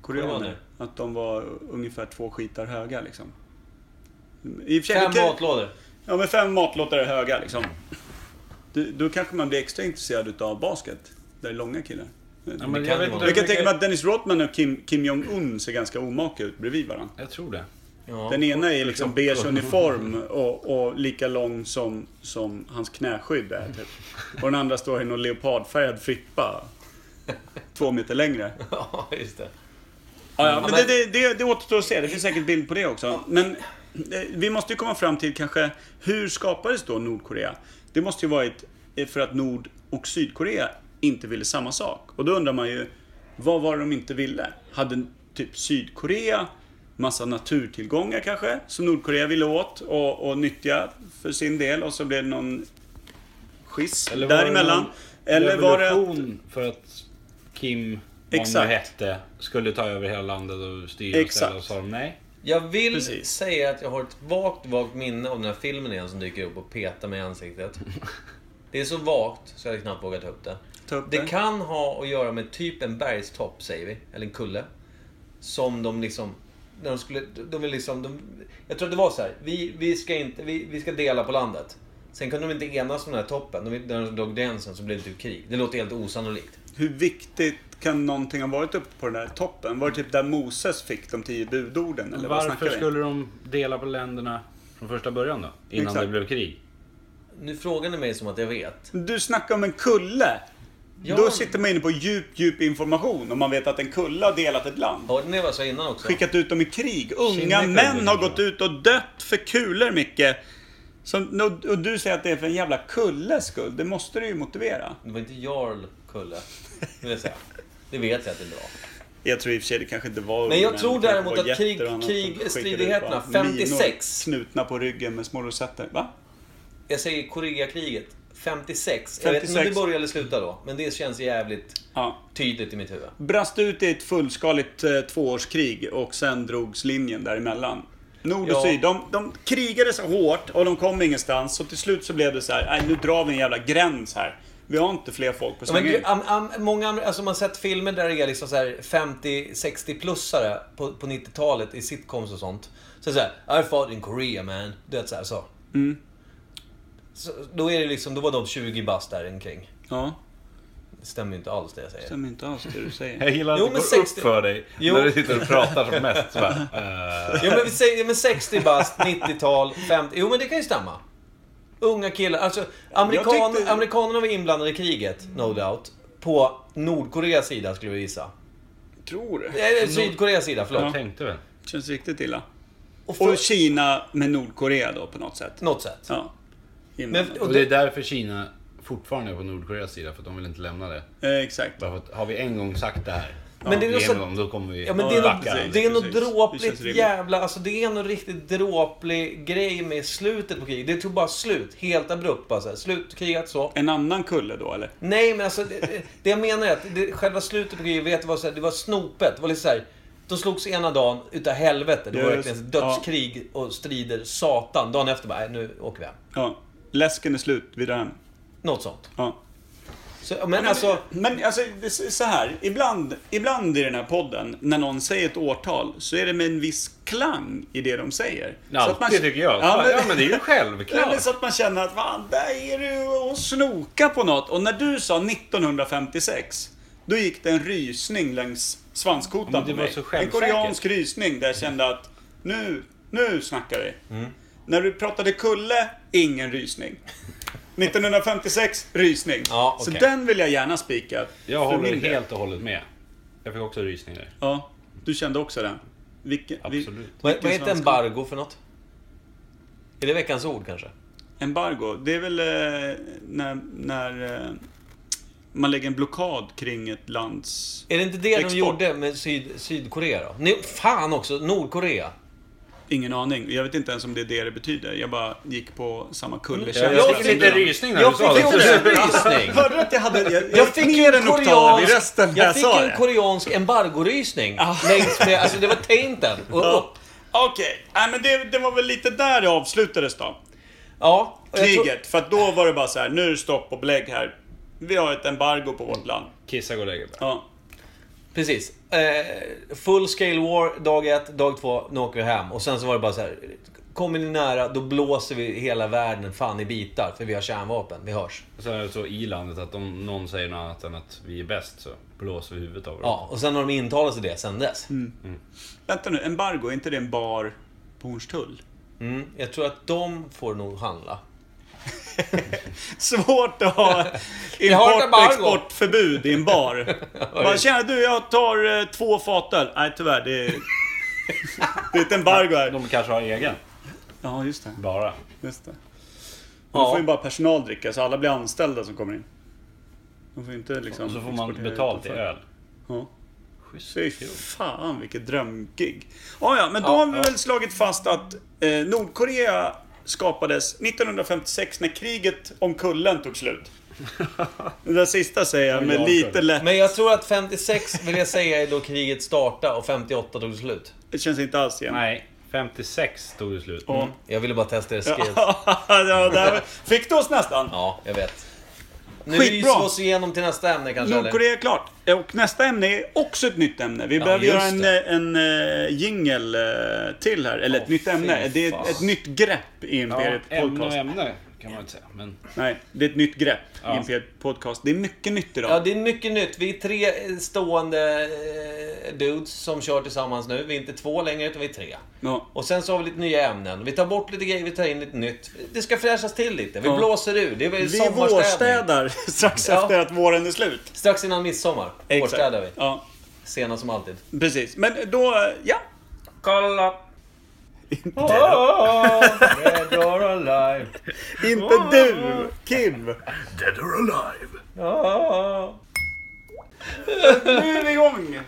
Koreaner. Koreaner. Att de var ungefär två skitar höga liksom. I och för sig- Fem det kan- matlådor. Ja, men fem matlådor är höga liksom. Du, då kanske man blir extra intresserad utav basket. Där det är långa killar. Ja, kan men det jag, vet vara. inte, jag kan hur tänka mycket- mig att Dennis Rodman och Kim, Kim Jong-Un ser ganska omaka ut bredvid varandra. Jag tror det. Ja. Den ena är liksom beige uniform och, och lika lång som, som hans knäskydd är. Typ. Och den andra står i någon leopardfärgad frippa. två meter längre. Ja, just det. Ja, ja, men det, det, det, det återstår att se. Det finns säkert bild på det också. Men eh, vi måste ju komma fram till kanske, hur skapades då Nordkorea? Det måste ju varit eh, för att Nord och Sydkorea inte ville samma sak. Och då undrar man ju, vad var det de inte ville? Hade typ Sydkorea massa naturtillgångar kanske, som Nordkorea ville åt och, och nyttja för sin del och så blev det någon schism Eller var det däremellan? någon Eller var det... att- Revolution för att Kim, vad han nu Exakt. hette, skulle ta över hela landet och styra och Exakt. ställa. Och sa de nej. Jag vill Precis. säga att jag har ett vagt, vagt minne av den här filmen igen som dyker upp och petar mig i ansiktet. Det är så vagt så jag hade knappt vågat ta upp det. Ta upp det det. kan ha att göra med typ en bergstopp, säger vi. Eller en kulle. Som de liksom... När de skulle... De vill liksom... De, jag tror att det var så här. Vi, vi, ska inte, vi, vi ska dela på landet. Sen kunde de inte enas om den här toppen. De, när de drog gränsen så blev det typ krig. Det låter helt osannolikt. Hur viktigt kan någonting ha varit uppe på den där toppen? Var det typ där Moses fick de tio budorden? Eller vad Varför snackar vi? skulle de dela på länderna från första början då? Innan Exakt. det blev krig? Nu frågar ni mig som att jag vet. Du snackar om en kulle. Ja. Då sitter man inne på djup, djup information om man vet att en kulle har delat ett land. Hörde ni vad jag sa innan också? Skickat ut dem i krig. Unga Kinna män kunde har det. gått ut och dött för kulor, Micke. Som, och- och du säger att det är för en jävla kulles skull. Det måste du ju motivera. Det var inte Jarl Kulle, vill jag säga. Det vet jag att det var. Jag tror i och för sig det kanske inte var Men jag unga tror män, det kanske däremot var att jätter krig- och annat som skickade ut krigstridigheterna, bara minor 56. Knutna på ryggen med små rosetter. Va? Jag säger Koreakriget. 56. Jag vet inte om det 56. börjar eller slutar då, men det känns jävligt Ja. tydligt i mitt huvud. brast ut i ett fullskaligt eh, tvåårskrig och sen drogs linjen däremellan. Nord och Ja. syd, de, de krigade så hårt och de kom ingenstans. Så till slut så blev det så här, nej nu drar vi en jävla gräns här. Vi har inte fler folk att Ja, Men slänga in. gud, am, am, många, am- alltså man har sett filmer där det är liksom så här 50-60-plussare på, på 90-talet i sitcoms och sånt. Så det är så här, I fought in Korea man. Du vet så här, så. så. Då är det liksom, då var de 20 bast där omkring. Ja, Det stämmer ju inte alls det jag säger. stämmer inte alls det du säger. Jag gillar att Jo, det men går upp 60 för dig Jo. när du sitter och pratar som mest. Eh, Ja men vi säger men 60 bast, 90-tal, 50. Jo men det kan ju stämma. Unga killar. Alltså amerikan, Jag tyckte- amerikanerna var inblandade i kriget, no doubt. På Nordkoreas sida skulle vi gissa. Tror du? Eller Sydkoreas sida, Jag förlåt. tänkte väl. Känns riktigt illa. Och för, Och Kina med Nordkorea då på något sätt. något sätt. Ja. Men, Men, och Och det är det, därför Kina fortfarande är på Nordkoreas sida, för att de vill inte lämna det. eh, exakt. Bara för att, har vi en gång sagt det här, Men det är vi också- med dem, då kommer vi ja, men det är Ja, något, precis, det är något precis. Det dråpligt känns rimligt. jävla... Alltså det är någon riktigt dråplig grej med slutet på kriget. Det tog bara slut. Helt abrupt bara så här. Slut kriget så. En annan kulle då eller? Nej, men alltså det, det jag menar är att det, själva slutet på kriget vet du, var så här, det var snopet. Det var lite så här, de slogs ena dagen utav helvete. Det var Just, verkligen ett dödskrig och strider. Satan. Dagen efter bara, "Nej, nu åker vi hem. Ja. Läsken är slut, vi drar hem. Något sånt. Ja. Så, men, alltså, Men alltså, det är så här. Ibland, ibland i den här podden, när någon säger ett årtal, så är det med en viss klang i det de säger. så Alltid tycker jag. Ja, men, ja, men det är ju Ja, men självklart. så att man känner att fan, där är du och snokar på något. Och när du sa 1956, då gick det en rysning längs svanskotan Ja, men det på var mig. så en självsäkert. koreansk rysning där jag kände att nu, nu snackar Mm. vi. När du pratade kulle, ingen rysning. 1956, rysning. Ja, Så okej. den vill jag gärna spika. Jag för håller min del. helt och hållet med. Jag fick också rysningar. Ja, du kände också den? Vilken, vi- Absolut. vad, vilken vad heter svensk- embargo för något? Är det veckans ord kanske? Embargo, det är väl eh, när, när eh, man lägger en blockad kring ett lands... Är det inte det Export. de gjorde med syd, Sydkorea då? Nej, fan också, Nordkorea. Ingen aning. Jag vet inte ens om det är det det betyder. Jag bara gick på samma kulle Jag, Jag fick fick- lite rysning när jag du sa fick det. också en rysning. Hörde du att jag hade... Jag, jag, Jag fick ju ner en en oktav i koreansk, rösten när jag jag fick sa en det. koreansk embargorysning. Längs med, alltså det var tainten. Och Ja. upp. Okej, Nej men det, det var väl lite där det avslutades då. Ja, och jag tror- Kriget. För att då var det bara så här, nu är det stopp och belägg här. Vi har ett embargo på vårt land. Kissa går lägre. Ja. Precis. Eh, full scale war, dag ett, dag två, nu åker vi hem. Och sen så var det bara så här. Kommer ni nära, då blåser vi hela världen fan i bitar. För vi har kärnvapen, vi hörs. Och Sen är det så i landet att om någon säger något annat än att vi är bäst så blåser vi huvudet av dem. Ja, och sen har de intalat sig det sen dess. Mm. Vänta nu, embargo, är inte det en bar på Hornstull? Mm, jag tror att de får nog handla. Svårt att ha har ett import och embargo. exportförbud i en bar. Bara, tjena du, jag tar eh, två fatöl. Nej, tyvärr. Det är, det är ett embargo här. De kanske har egen. Ja, just det. Bara. Just det. Men Ja. Då får ju bara personal dricka, så alla blir anställda som kommer in. De får inte liksom... Och så får man exportera betalt i utanför. öl. Ja. Schysst. Fy fan vilket drömgig. Ah, ja, men då Ja, har vi ja. väl slagit fast att eh, Nordkorea skapades 1956 när kriget om kullen tog slut. Det där sista säger jag med Ja, lite Kullen. lätt. Men jag tror att 56 vill jag säga är då kriget startade och 58 tog slut. Det känns inte alls igen. Nej, 56 tog det slut. Ja. Jag ville bara testa er skills. ja, där fick du oss nästan. Ja, jag vet. Nu Skitbra. ryser vi oss igenom till nästa ämne kanske, eller? Nordkorea är klart. Och nästa ämne är också ett nytt ämne. Vi behöver just göra en, en, en jingel eh, till här. Eller ett Åh, nytt ämne. fy Det är fan. ett, ett nytt grepp i Ja, Imperiet ämne och Podcast. ämne kan man inte säga. Men Nej, det är ett nytt grepp Ja. i Imperiet Podcast. Det är mycket nytt idag. Ja, det är mycket nytt. Vi är tre eh, stående eh, dudes som kör tillsammans nu. Vi är inte två längre, utan vi är tre. Ja. Och sen så har vi lite nya ämnen. Vi tar bort lite grejer, vi tar in lite nytt. Det ska fräschas till lite. Vi Ja. blåser ur. Det är väl Vi sommarstädning. vårstädar strax Ja. efter att våren är slut. Strax innan midsommar vårstädar vi. Ja, Sena som alltid. precis. Men då, ja. Kolla! Inte Ah! oh, dead or alive. Inte du, Kim. Dead or alive. Oh. Nu är vi igång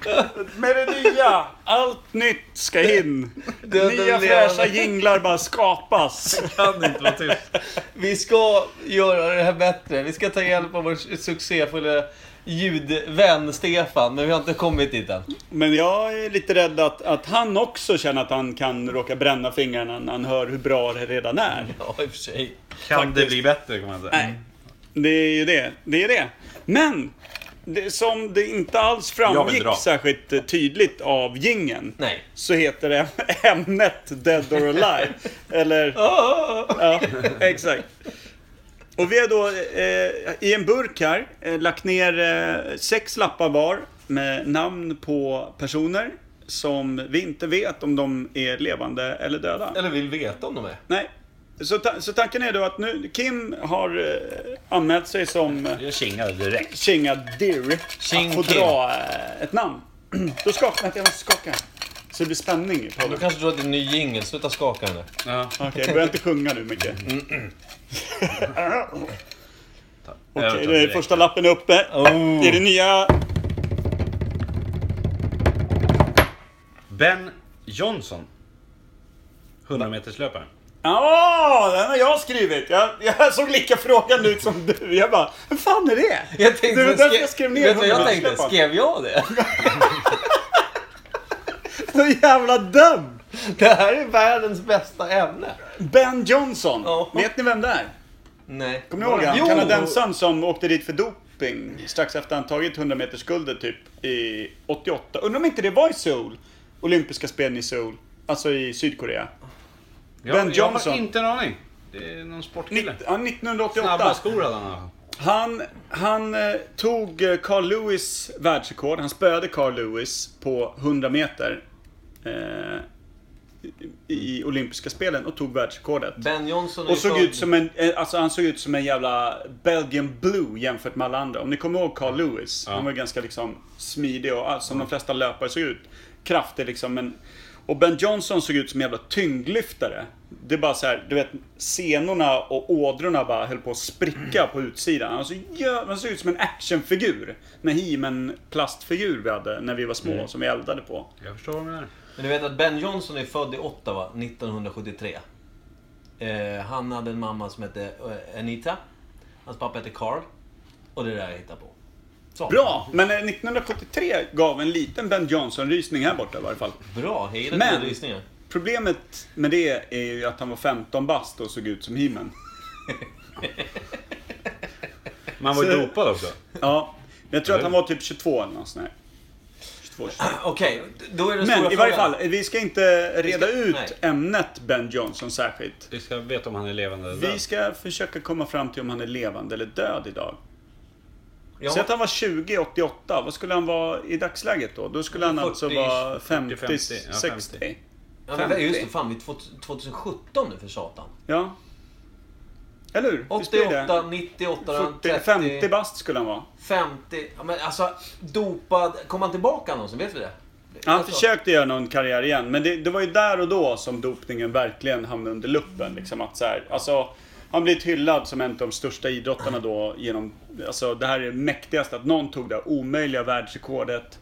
med det nya. Allt nytt ska in. Döden Nya levande. fräscha jinglar bara skapas. kan inte vara tyst. Vi ska göra det här bättre. Vi ska ta hjälp av vår succéfulla ljudvän Stefan, men vi har inte kommit dit än. Men jag är lite rädd att, att han också känner att han kan råka bränna fingrarna när han hör hur bra det redan är. Ja, i och för sig. Kan det bli bättre kan man säga. Mm. Nej, det är ju det. Det är det. Men, det, som det inte alls framgick dra. särskilt eh, tydligt av gingen Nej. så heter det ämnet Dead or Alive. Eller... Ah! Ja, exakt. Och vi har då eh, i en burk här eh, lagt ner eh, sex lappar var med namn på personer som vi inte vet om de är levande eller döda. Eller vill veta om de är. Nej. Så, ta- så tanken är då att nu, Kim har eh, anmält sig som eh, Jag kingade direkt. Kinga Deer Ching att få Kim. dra eh, ett namn. Då skakar jag, jag måste skaka. Så det blir spänning i Du podden. kanske tror att det är en ny jingel, sluta skaka nu. Ja. Okej, börja inte sjunga nu Mm. Micke. Okej, det är första lappen uppe. Oh. Mm. Det är det nya... Ben Johnson. 100 meterslöparen. Ja, den har jag skrivit. Jag, jag såg lika frågan ut som du. Jag bara, vad fan är det? Jag tänkte, det var därför jag skrev ner Vet du vad jag hundra. tänkte? Släpp han. Skrev jag det? Så jävla dum! Det här är världens bästa ämne. Ben Johnson. Ja. Vet ni vem det är? Nej. Kommer ni ihåg han? Jo! Kanadensaren som åkte dit för doping strax efter han tagit 100 meters guldet typ i 88. Undrar om inte det var i Seoul? Olympiska spelen i Seoul. Alltså i Sydkorea. Jag, Ben Jag Johnson. har inte en aning. Det är någon Nitt- sportkille. ja, 1988. Snabba skor hade han Han, han eh, tog eh, Carl Lewis världsrekord. Han spöade Carl Lewis på 100 meter. Eh, i, I olympiska spelen och tog världsrekordet. Ben Johnson är Och ju såg född- ut som en, eh, alltså han såg ut som en jävla Belgian Blue jämfört med alla andra. Om ni kommer ihåg Carl Lewis. Han var ganska liksom smidig och allt som de flesta löpare såg ut. Kraftig liksom. Men, och Ben Johnson såg ut som en jävla tyngdlyftare. Det är bara så här, du vet senorna och ådrorna bara höll på att spricka på utsidan. Han, så jä- han såg ut som en actionfigur. En He-Man plastfigur vi hade när vi var små som vi eldade på. Jag förstår vad du menar. Men du vet att Ben Johnson är född i Ottawa 1973. Eh, han hade en mamma som hette eh, Anita. Hans pappa hette Carl. Och det är det här jag hittar på. Så. Bra! Men eh, 1973 gav en liten Ben Johnson-rysning här borta i varje fall. Bra, jag gillar Men- dina rysningar. Problemet med det är ju att han var 15 bast och såg ut som himen. Man var ju Så- dopad också. Ja, men jag tror att han var typ 22 eller något sånt där. 22, 23. Okej, d- då är det stora Men i varje frågan. fall, vi ska inte reda ska- ut nej. ämnet Ben Johnson särskilt. Vi ska veta om han är levande eller Vi död. ska försöka komma fram till om han är levande eller död idag. Säg Ja, att han var 20 88, vad skulle han vara i dagsläget då? Då skulle han alltså 40, vara 50, 50, ja, 60. ja, men, just det, 50. fan vi är 2017 nu för satan. Ja. Eller hur? Visst är det? 88, 98, 40, 50 bast skulle han vara. 50. Ja, men alltså, dopad. Kom han tillbaka någonsin? Vet vi det? Han Alltså, försökte göra någon karriär igen, men det, det var ju där och då som dopningen verkligen hamnade under luppen. Liksom att så här, alltså, han blivit hyllad som en av de största idrottarna då genom... Alltså det här är det mäktigaste, att någon tog det här omöjliga världsrekordet.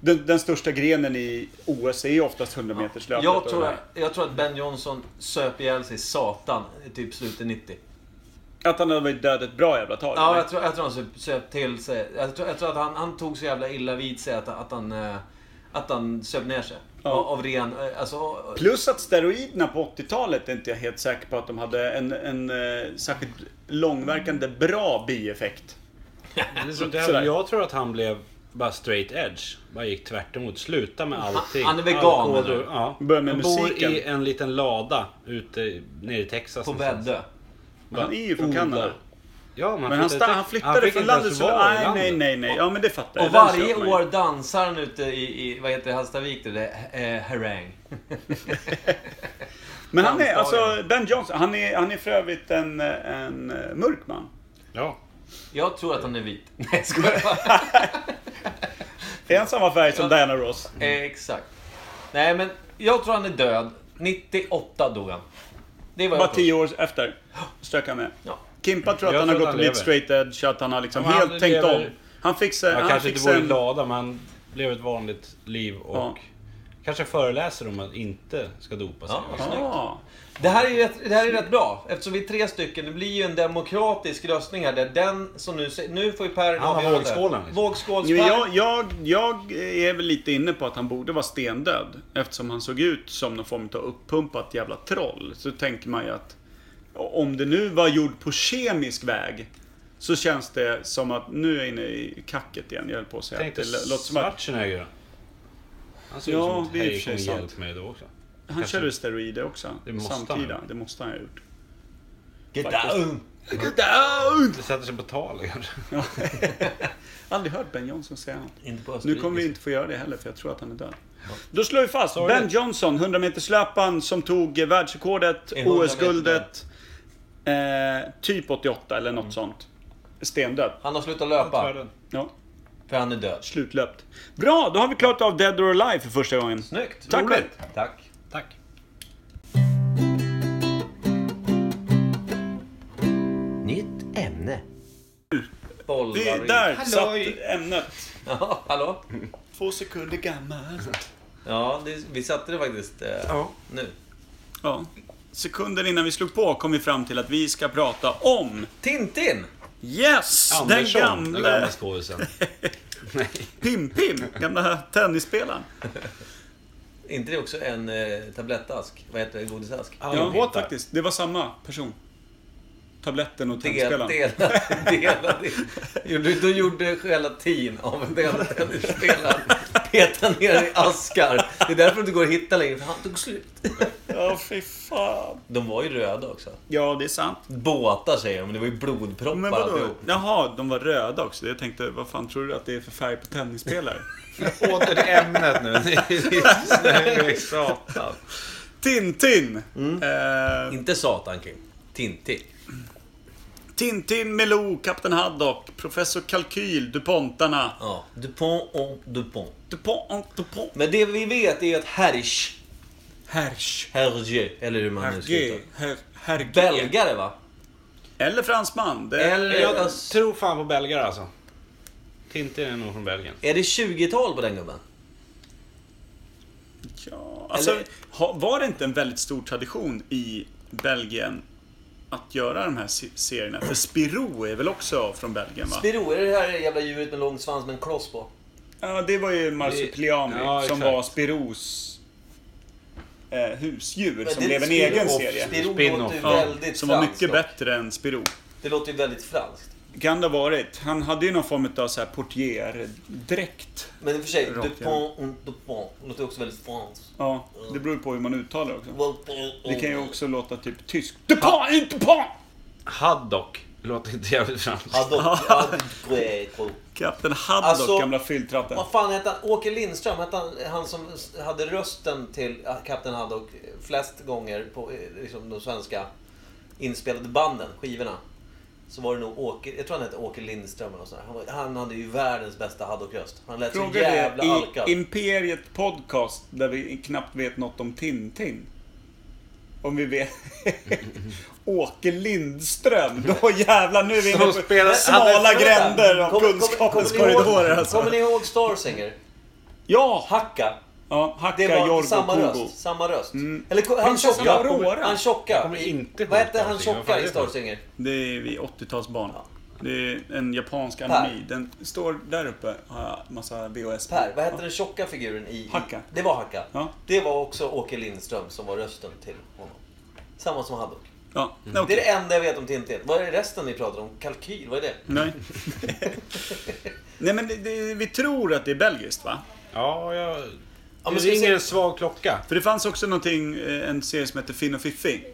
Den, den största grenen i OS är ju oftast 100 meters löpet. Jag tror, jag tror att Ben Johnson söp ihjäl sig satan typ slutet 90. Att han hade varit död ett bra jävla tag. Ja, eller? jag tror, jag tror han söp, söp till sig. Jag tror, jag tror att han, han tog så jävla illa vid sig att, att han... eh, Att han söp ner sig. Av, av ren... eh, Alltså... Plus att steroiderna på 80-talet är inte jag helt säker på att de hade en, en eh, särskilt långverkande bra bieffekt. Det tror inte Sådär. jag. jag tror att han blev bara straight edge. Bara gick tvärt emot. Sluta med allting. han är vegan, Alkohol menar du? och- ja. Börja med han bor musiken. i en liten lada ute i- nere i Texas. På någonstans. Väddö. Han är ju från Oh, Odlar. Kanada. Ja, men Men han, sta- flyttade- han flyttade fick från inte ens landet så... vara i Nej, nej, landet. nej, nej. Ja, men det fattar jag. Och Den varje köper man ju. år dansar han ute i, i vad heter det, Hallstavik? Det där, eh, harang. Men han är, dansdagen. alltså, Ben Johnson, han är, han är för övrigt en, en eh, mörk man. Ja. Jag tror att han är vit. Nej, jag skojar bara. Är han samma färg som Diana Ross? Eh, Exakt. Nej, men jag tror han är död. 98 dog han. Det var Bara jag tror. tio år efter strök han med. Ja. Kimpa tror att Jag han har tror gått och att han blivit lever. straight edge, att han har liksom Ja, men han helt tänkt lever- om. Han fick sig... Han Han kanske fick inte bor i sig- en lada, men han lever ett vanligt liv och Ja. kanske föreläser om att inte ska dopa sig. Ja. Ja. Det här är ju rätt, det här är rätt bra, eftersom vi är tre stycken. Det blir ju en demokratisk röstning här, där den som nu säger... Nu får ju Per har avgöra det. vågskålen, liksom. Jo, Vågskåls-Per. Jag, jag, jag är väl lite inne på att han borde vara stendöd. Eftersom han såg ut som någon form av uppumpat jävla troll. Så tänker man ju att om det nu var gjord på kemisk väg. Så känns det som att nu är jag inne i kacket igen. Jag höll på att säga att Tänkte det låter som att Schwarzenegger då? Han ser Ja, ut som det är i och att för sig hej kom sant. och hjälp mig då också. han körde steroider också. Det måste han samtida. ha. Det måste han ha gjort. Get faktiskt. down! Get out! Det sätter sig på tal kanske. Aldrig hört Ben Johnson säga något. Inte på Nu kommer vi inte få göra det heller för jag tror att han är död. Då slår vi fast Ben Johnson, 100 meterslöparen som tog eh, världsrekordet, 100 meter OS-guldet. Eh, typ 88 eller något sånt. Stendöd. Han har slutat löpa, Ja, för han är död. slutlöpt. Bra, då har vi klart av Dead or Alive för första gången. Snyggt! Tack själv. Tack. Tack. Nytt ämne. Vi, Bollar in. där satt ämnet. Ja, hallå? Två sekunder gammalt. Ja, det, vi satte det faktiskt eh, nu. Ja. Sekunden innan vi slog på kom vi fram till att vi ska prata om Tintin! Yes! Andersson, den den gamla gamle skådisen. Pim-Pim, gamla tennisspelaren. inte det också en eh, tablettask? Vad heter det? Godisask? Ja, Almhitta. faktiskt. Det var samma person. Tabletten och Del, tennisspelaren. delad, delad. Gjorde- Du gjorde gelatin av en delad tennisspelare. Peta ner i askar. Det är därför det inte går att hitta längre, för han tog slut. Ja, fy fan. De var ju röda också. Ja, det är sant. Båtar säger de, men det var ju Men blodproppar vadå? alltihop. Jaha, de var röda också. Jag tänkte, vad fan tror du att det är för färg på tennisspelare? Åter till ämnet nu. Snöväg satan. Tintin! Mm. Eh, Inte Satan Kim. Tintin. Tintin, Melou, Kapten Haddock, Professor Kalkyl, Dupontarna. Ja. Dupont och Dupont. Dupont, Dupont. Men det vi vet är att Hersch, Hersch. Hergé, eller hur man nu ska Hergé. uttala Her- Hergé. Belgare va? Eller fransman. Det... Eller... Jag tror fan på belgare alltså. Tintin är nog från Belgien. Är det 20-tal på den gubben? Ja, alltså, Eller- ha- var det inte en väldigt stor tradition i Belgien att göra de här se- serierna? För Spirou är väl också från Belgien va? Spiro, är det det här jävla djuret med lång svans med en kloss på? ja, det var ju Marsupiami Ja, som exakt. var Spirous eh, husdjur Men som det- blev en Spiro- egen serie. Spiro Spin-off. låter ju Ja, väldigt som var franskt mycket dock. bättre än Spirou. Det låter ju väldigt franskt. Kan det ha varit. Han hade ju någon form av så här portierdräkt. Men i och för sig, Rakt Dupont och Dupont låter också väldigt franskt. Ja, det beror på hur man uttalar också. Dupont och- Det kan ju också låta typ tyskt. Dupont, inte Dupont! Haddock. Låter inte jävligt franskt. Ja, dock. Ja, det- Kapten Haddock, Alltså- gamla fylltratten. Vad fan hette han? Åke Lindström, hette han, han som s- hade rösten till Kapten Haddock flest gånger på eh, liksom, de svenska inspelade banden, skivorna. Så var det nog Åke, jag tror han hette Åke Lindström eller något sånt där. han, var, han hade ju världens bästa haddock-röst. Han lät så Fråga jävla det alkad. i Imperiet Podcast där vi knappt vet något om Tintin. Om vi vet... Åke Lindström, då jävlar nu är vi inne på Som spelar- smala gränder av Kommer- kommer- kunskapens kommer ni ihåg- korridorer alltså. Kommer ni ihåg Starsinger? Ja, ha- Hacka. ja, Det Hacka, var Jorgo, samma Kogo. Mm. röst. Samma röst. Eller ko- han Prinsessan tjocka. Aurora. Han Jag tjocka. kommer inte Vad ihåg hette han Starsinger. Vad tjocka fan i är det för? Starsinger? Det är vi 80-talsbarn. Ja. Det är en japansk anime. Den står där uppe, har jag massa VHS på. Per, vad hette den tjocka figuren i... Hacka. Det var Hacka. Ja. Det var också Åke Lindström som var rösten till honom. Samma som Haddock. Ja, okej. Det är det enda jag vet om Tintin. Vad är resten ni pratar om? Kalkyl, vad är det? Nej. Nej men det, det, vi tror att det är belgiskt va? Ja, jag... Ja, men det ska vi ringer se- en svag klocka. För det fanns också någonting, eh, en serie som hette Finn och Fiffi.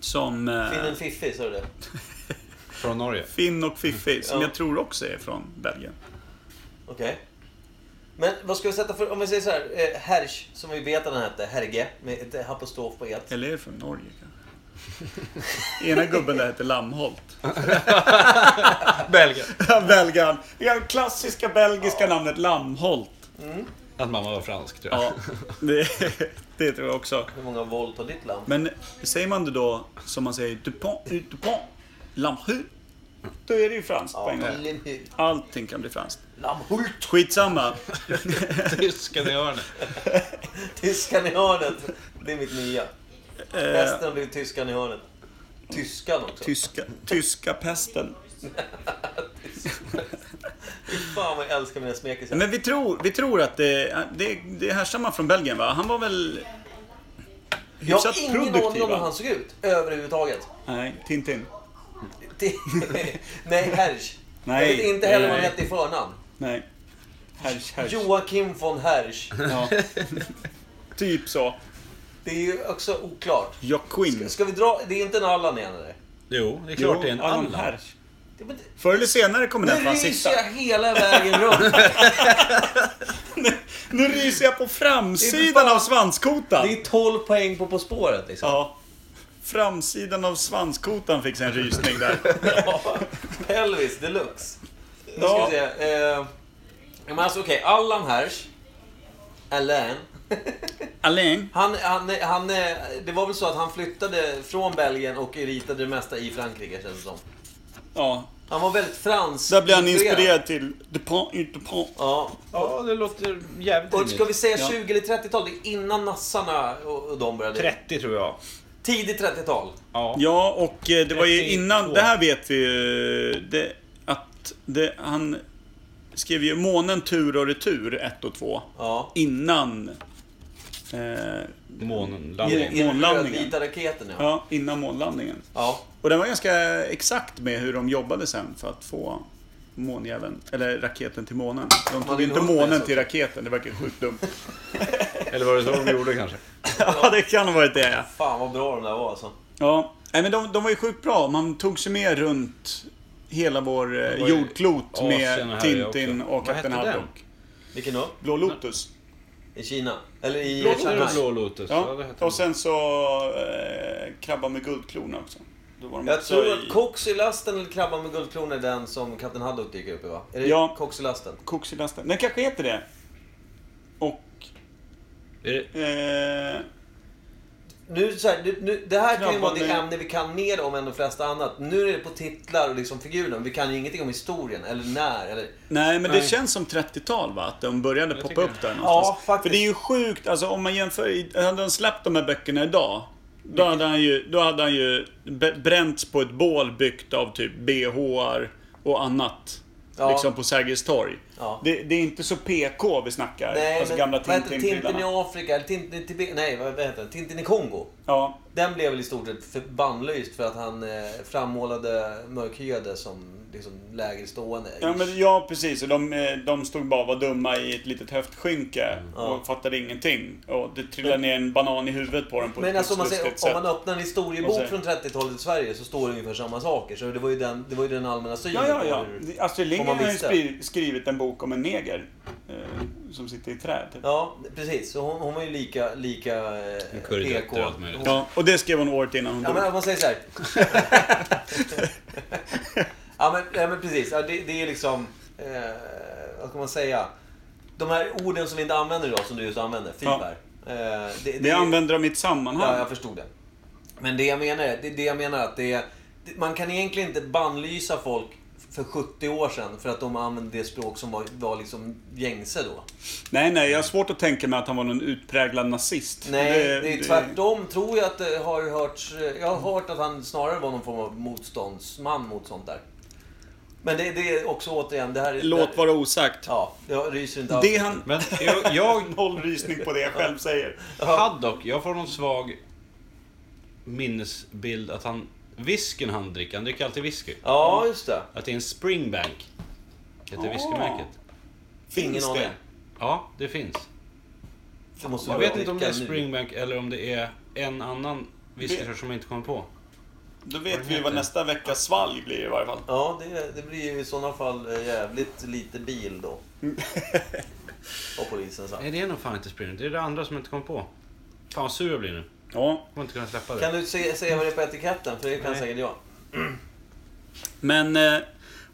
Som... eh, Finnen Fiffi, sa du det? Från Norge. Finn och Fiffi, som Mm. Ja. jag tror också är från Belgien. Okej. Men vad ska vi sätta för... Om vi säger så här, eh, Hersch, som vi vet att han hette, Herge, med ett eh, apostrof på et. Eller är det från Norge kanske? Ena gubben där heter Lammholt. Belgien. Belgaren. Det är det klassiska belgiska namnet Lammholt. Att mamma var fransk tror jag. Ja, det, det tror jag också. Hur många volt har ditt lamm? Men säger man det då som man säger Dupont, eh, Dupont, Lammhult. Då är det ju franskt på Ja, en gång. Lammhult. Allting kan bli franskt. Lammhult! Skitsamma. Tysken i hörnet. Tyskan i hörnet. Det är mitt Eh. nya. Resten har blivit tyskan i hörnet. Tyskan också. Tyska, tyska pesten. Fan vad jag älskar mina smekisar. Men vi tror, vi tror att det, det, det härstammar från Belgien va? Han var väl Jag hyfsat har ingen aning produktiv om hur va? han såg ut överhuvudtaget. Nej, Tintin. Det- Nej, Hersch. Nej, jag vet inte heller vad han nej. hette i förnamn. Nej. Hersch, hersch. Joakim von Hersch. Ja. typ så. Det är ju också oklart. Joaquin. Ska vi dra? Det är inte en Allan igen eller? Jo, det är klart det är en Allan Allan. Hersch. Det- men det- Förr eller senare kommer den Nu fan sitta. ryser jag hela vägen runt. Nu ryser jag på framsidan av svanskotan. Det är 12 poäng på På spåret liksom. Ja. Framsidan av svanskotan fick sig en rysning där. Ja, Pelvis deluxe. Nu ska Ja. vi se. Eh, men alltså okej, Allan Hersh. Alain. Alain. Han, han, han, eh, det var väl så att han flyttade från Belgien och ritade det mesta i Frankrike känns det som. Ja. Han var väldigt fransk. Där blir han influerad. inspirerad till Dupont, ut Dupont. Ja. Ja, det låter jävligt Och ska vi rimligt. säga Ja. 20 eller 30-tal? Det är innan nassarna och, och de började. 30 tror jag. Tidigt 30-tal. Ja. Ja, och eh, det var ju 32. innan... Det här vet vi ju. eh, Det, att det, han skrev ju Månen tur och retur 1 och 2. Ja. Innan... Eh, Månlandning. I- Månlandningen. Rödvita raketen ja. ja, innan månlandningen. ja. Och den var ganska exakt med hur de jobbade sen för att få månjäveln, eller raketen till månen. De Man tog vill inte ha det, månen så. till raketen, det verkar sjukt dumt. Eller var det så de gjorde kanske? ja, det kan ha varit det ja. Fan vad bra de där var alltså. Ja, nej, men de, de var ju sjukt bra. Man tog sig med runt hela vår eh, var ju jordklot Asien här med Tintin också. och Vad Kapten hette den? Haddock. Vilken då? Blå Lotus. I Kina? Eller i Blå Lotus. Shanghai? Blå Lotus. Ja, det Ja, hette och den. sen så eh, Krabba med guldklorna också. Då var de Jag också tror i- att Cox i lasten eller Krabban med guldkronor är den som Kapten Haddock dyker upp i va? Är det Ja. Cox i lasten? Koks i lasten. Den kanske heter det. Och... Är det- Eh, Nu, så här, nu, nu, det här kan ju Krabban vara det med- ämne vi kan mer om än de flesta annat. Nu är det på titlar och liksom figurer. Vi kan ju ingenting om historien eller när. Eller... Nej, men det känns som 30-tal va? Att de började poppa tycker upp där Ja, någonstans. faktiskt. För det är ju sjukt, alltså om man jämför, i- hade han släppt de här böckerna idag, då hade han ju, då hade han ju b- bränts på ett bål byggt av typ BHR och annat. Ja. Liksom på Sergels torg. Ja. Det, det är inte så PK vi snackar. Nej, alltså men gamla vad heter Tintin i Tintin-prylarna. Afrika? Eller Tintin i Tibet? Nej, vad vad heter den? Tintin i Kongo. Ja. Den blev väl i stort sett för- bannlyst för att han eh, frammålade mörkhyade som liksom, lägre stående. Ja, men, ja, precis. Och de, eh, de stod bara och var dumma i ett litet höftskynke och Mm. Ja. fattade ingenting. Och det trillade ner en banan i huvudet på dem på Men ett alltså om man, säger, snuskigt om sätt. man öppnar en historiebok Och så- från 30-talet i Sverige så står det ungefär samma saker. Så det var ju den, det var ju den allmänna synen. Ja, ja, på ja. hur- Astrid om man Lindgren har ju visste. skri- skrivit en bok om en neger. Eh, eh, som sitter i träd. Typ. Ja, precis. Så hon, hon var ju lika, lika eh, kurdisk PK. och allt möjligt. Ja, Ja, och det skrev hon året innan hon ja dog. men om man säger så här. ja, men, ja, men precis. Ja, det, det är liksom... Eh, vad ska man säga? De här orden som vi inte använder idag, som du just använde. Fiber. Ja. Eh, det, Det använder de i ett Ja, sammanhang. jag förstod det. Men det jag menar är, det, det jag menar är att det är, det- man kan egentligen inte bannlysa folk för 70 år sedan för att de använde det språk som var, var liksom gängse då. Nej, nej, jag har svårt att tänka mig att han var någon utpräglad nazist. Nej, det, är tvärtom tror jag att det har hörts. Jag har hört att han snarare var någon form av motståndsman mot sånt där. Men det, det är också återigen, det här är... Låt vara osagt. Ja, jag ryser inte alls. Det han... Men jag, jag Noll rysning på det jag själv säger. hade dock, jag får någon svag minnesbild att han, whiskyn han dricker, han dricker alltid whisky. Ja, just det. Att det är en springbank. Heter Ah. whiskymärket. Ingen Finns aning. det? Ja, det finns. Det måste Jag vi vet inte om det är dricka nu. springbank eller om det är en annan Det- whisky som jag inte kommer på. Då vet vi vad nästa veckas svalg blir i varje fall. Ja, det, det blir ju i sådana fall eh, jävligt lite bil då. Har polisen sagt. Nej, det är nog fan inte springbank. Det är det andra som jag inte kommer på. Fan vad sur jag blir nu. Jag Ja, kommer inte kunna släppa Kan det. du se, säga vad det är på etiketten? För det kan Nej. säkert jag. men... eh,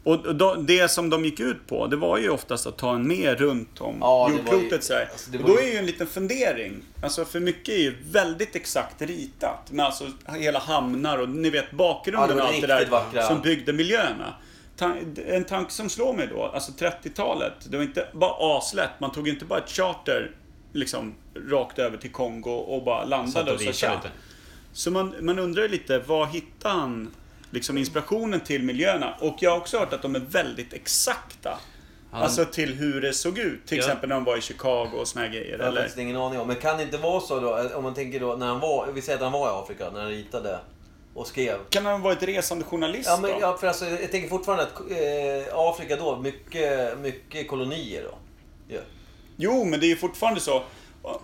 Och och då, det som de gick ut på, det var ju oftast att ta en med runt om Ja, det var ju- jordklotet sådär. alltså, det och var då ju- är ju en liten fundering. Alltså för mycket är ju väldigt exakt ritat. Med alltså hela hamnar och ni vet Ja, bakgrunden det var och allt det riktigt där vackra. som byggde miljöerna. Tan- En tanke som slår mig då, alltså 30-talet, det var inte bara aslätt. Man tog ju inte bara ett charter liksom rakt över till Kongo och bara Satt landade och och sa ritade tja. lite. Så man, man undrar ju lite, vad hittar han liksom inspirationen till miljöerna? Och jag har också hört att de är väldigt exakta. Alltså till hur det såg ut. Till Ja. exempel när de var i Chicago och såna här grejer. Jag har Eller? faktiskt ingen aning om. Men kan det inte vara så då, eh, om man tänker då när han var, vi säger att han var i Afrika, när han ritade och skrev. Kan han ha varit resande journalist Ja, men, då? ja, för alltså, jag tänker fortfarande att eh, Afrika då, mycket, mycket kolonier då. Ja. Jo, men det är ju fortfarande så.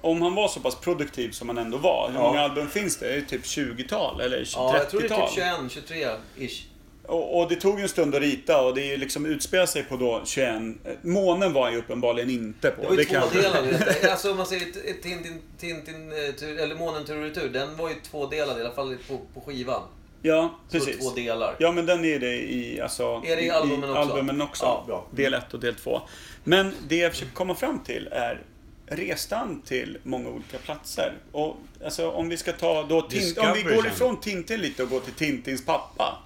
Om han var så pass produktiv som han ändå var. Hur många album finns det? Det är typ 20-tal eller 30-tal. ja, jag tror det är typ 21, 23 ish. Och, och det tog ju en stund att rita och det är ju liksom utspelar sig på då 21... eh, Månen var han ju uppenbarligen inte på. Det var ju kan- tvådelad. vet jag. Alltså om man säger t- ett Tintin, Tintin eh, tur, eller Månen tur och retur, den var ju tvådelad i alla fall på, på skivan. Ja, Så precis. två delar. Ja, men den är det i, alltså, Är det i albumen också? albumen också. Ja, bra. Del 1 och del 2. Men det jag försöker komma fram till är restan till många olika platser. Och alltså, om vi ska ta då Tin- om vi Discovery går sen. ifrån Tintin lite och går till Tintins pappa.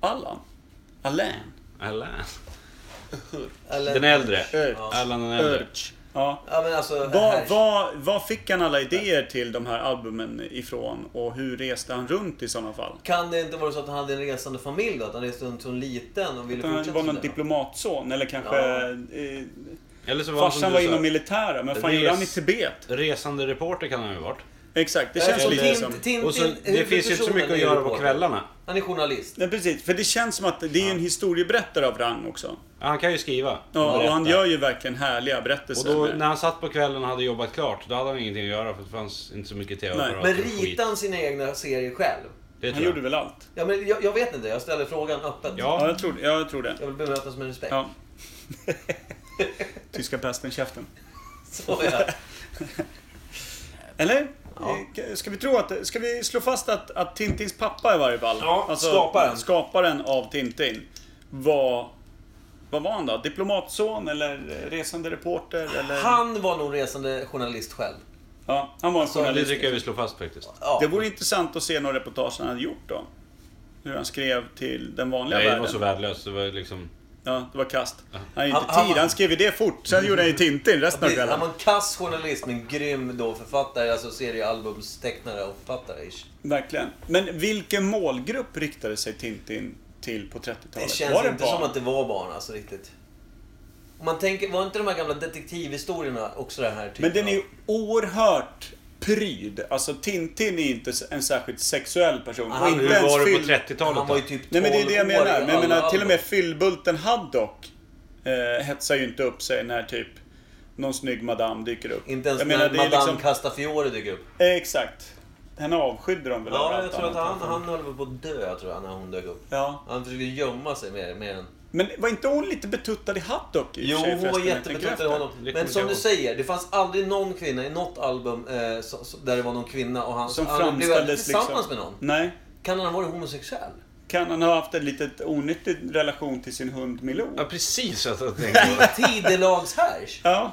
Allan. Alain. Allan. Eller, Den äldre. Ur. Allan den äldre. Ja. ja, men alltså, Vad, här- vad, vad fick han alla idéer till de här albumen ifrån och hur reste han runt i sådana fall? Kan det inte vara så att han hade en resande familj då? Att han reste runt som liten och ville Han fortsätta var någon sådär? diplomatson eller kanske... Ja. Eh, Eller så var han som farsan du var sa, inom militären, men fan gjorde han i Res- Tibet? Resande reporter kan han ju ha varit. Exakt, det Ja, känns så lite Tin- som... Tintin- Och så, det finns ju inte så mycket huvudpersonen är att göra på reporter. kvällarna. Han är journalist. Nej, precis. För det känns som att det är en historieberättare av rang också. Ja, han kan ju skriva. Ja, och han berättar. gör ju verkligen härliga Och berättelser. då, med- när han satt på kvällen och hade jobbat klart, då hade han ingenting att göra för det fanns inte så mycket tv Nej. apparater Men och skit. ritar han sina egna serier själv? Det han tror jag. gjorde väl allt? Ja, men jag, jag vet inte, jag ställer frågan öppet. Ja, Ja, jag tror, jag tror det. Jag vill bemötas med respekt. Ja. Tyska pesten, käften. Så är det. Eller? Eh, Ska vi tro att... Ska vi slå fast att, att Tintins pappa i varje fall, alltså Ja, skaparen. skaparen av Tintin, var... Vad var han då? Diplomatson eller resande reporter eller? Han var nog resande journalist själv. Ja, han var en det journalist. tycker jag vi slår fast faktiskt. Ja. Det vore intressant att se några reportage han hade gjort då. Hur han skrev till den vanliga Nej, det världen. var så värdelöst. Det var liksom... Ja, det var kast. Han hade inte Han- han- tid. Han skrev ju det fort. Sen gjorde han ju Tintin resten av Precis, Han kvällen. var en kass journalist men grym då författare, alltså seriealbumstecknare och författare. ish. Verkligen. Men vilken målgrupp riktade sig Tintin till på 30-talet? Det känns var det inte barn? som att det var barn alltså riktigt. Om Man tänker, var inte de här gamla detektivhistorierna också den här typen Men den är ju av- oerhört pryd. Alltså Tintin är inte en särskilt sexuell person. Han- Och hur inte Hur ens var det på fyll- 30-talet Han var då? ju typ 12 Nej men det är det jag år i menar. Men jag alla menar till och album. med fyllbulten Haddock eh, hetsar ju inte upp sig när typ någon snygg madam dyker upp. Inte ens jag menar, när det är Madame liksom, Castafiore dyker upp. eh, Exakt. Henne avskydde de väl Ja, överallt jag tror att annat. han, han höll på att dö tror jag, när hon dök upp. Ja. Han försökte gömma sig mer, mer än... Men var inte hon lite betuttad i hatt dock? i och Jo, för sig, hon var förresten, när jag tänker jättebetuttad i efter? honom. Det Men kommer som jag du ihåg. säger, det fanns aldrig någon kvinna i något album eh, så, så, där det var någon kvinna och han Som han blev aldrig framställdes tillsammans liksom. med någon. Nej. Kan han ha varit homosexuell? Kan han ha haft en litet onyttig relation till sin hund Milou? Ja, precis att jag tänkte. Tidelagshärsch? Ja.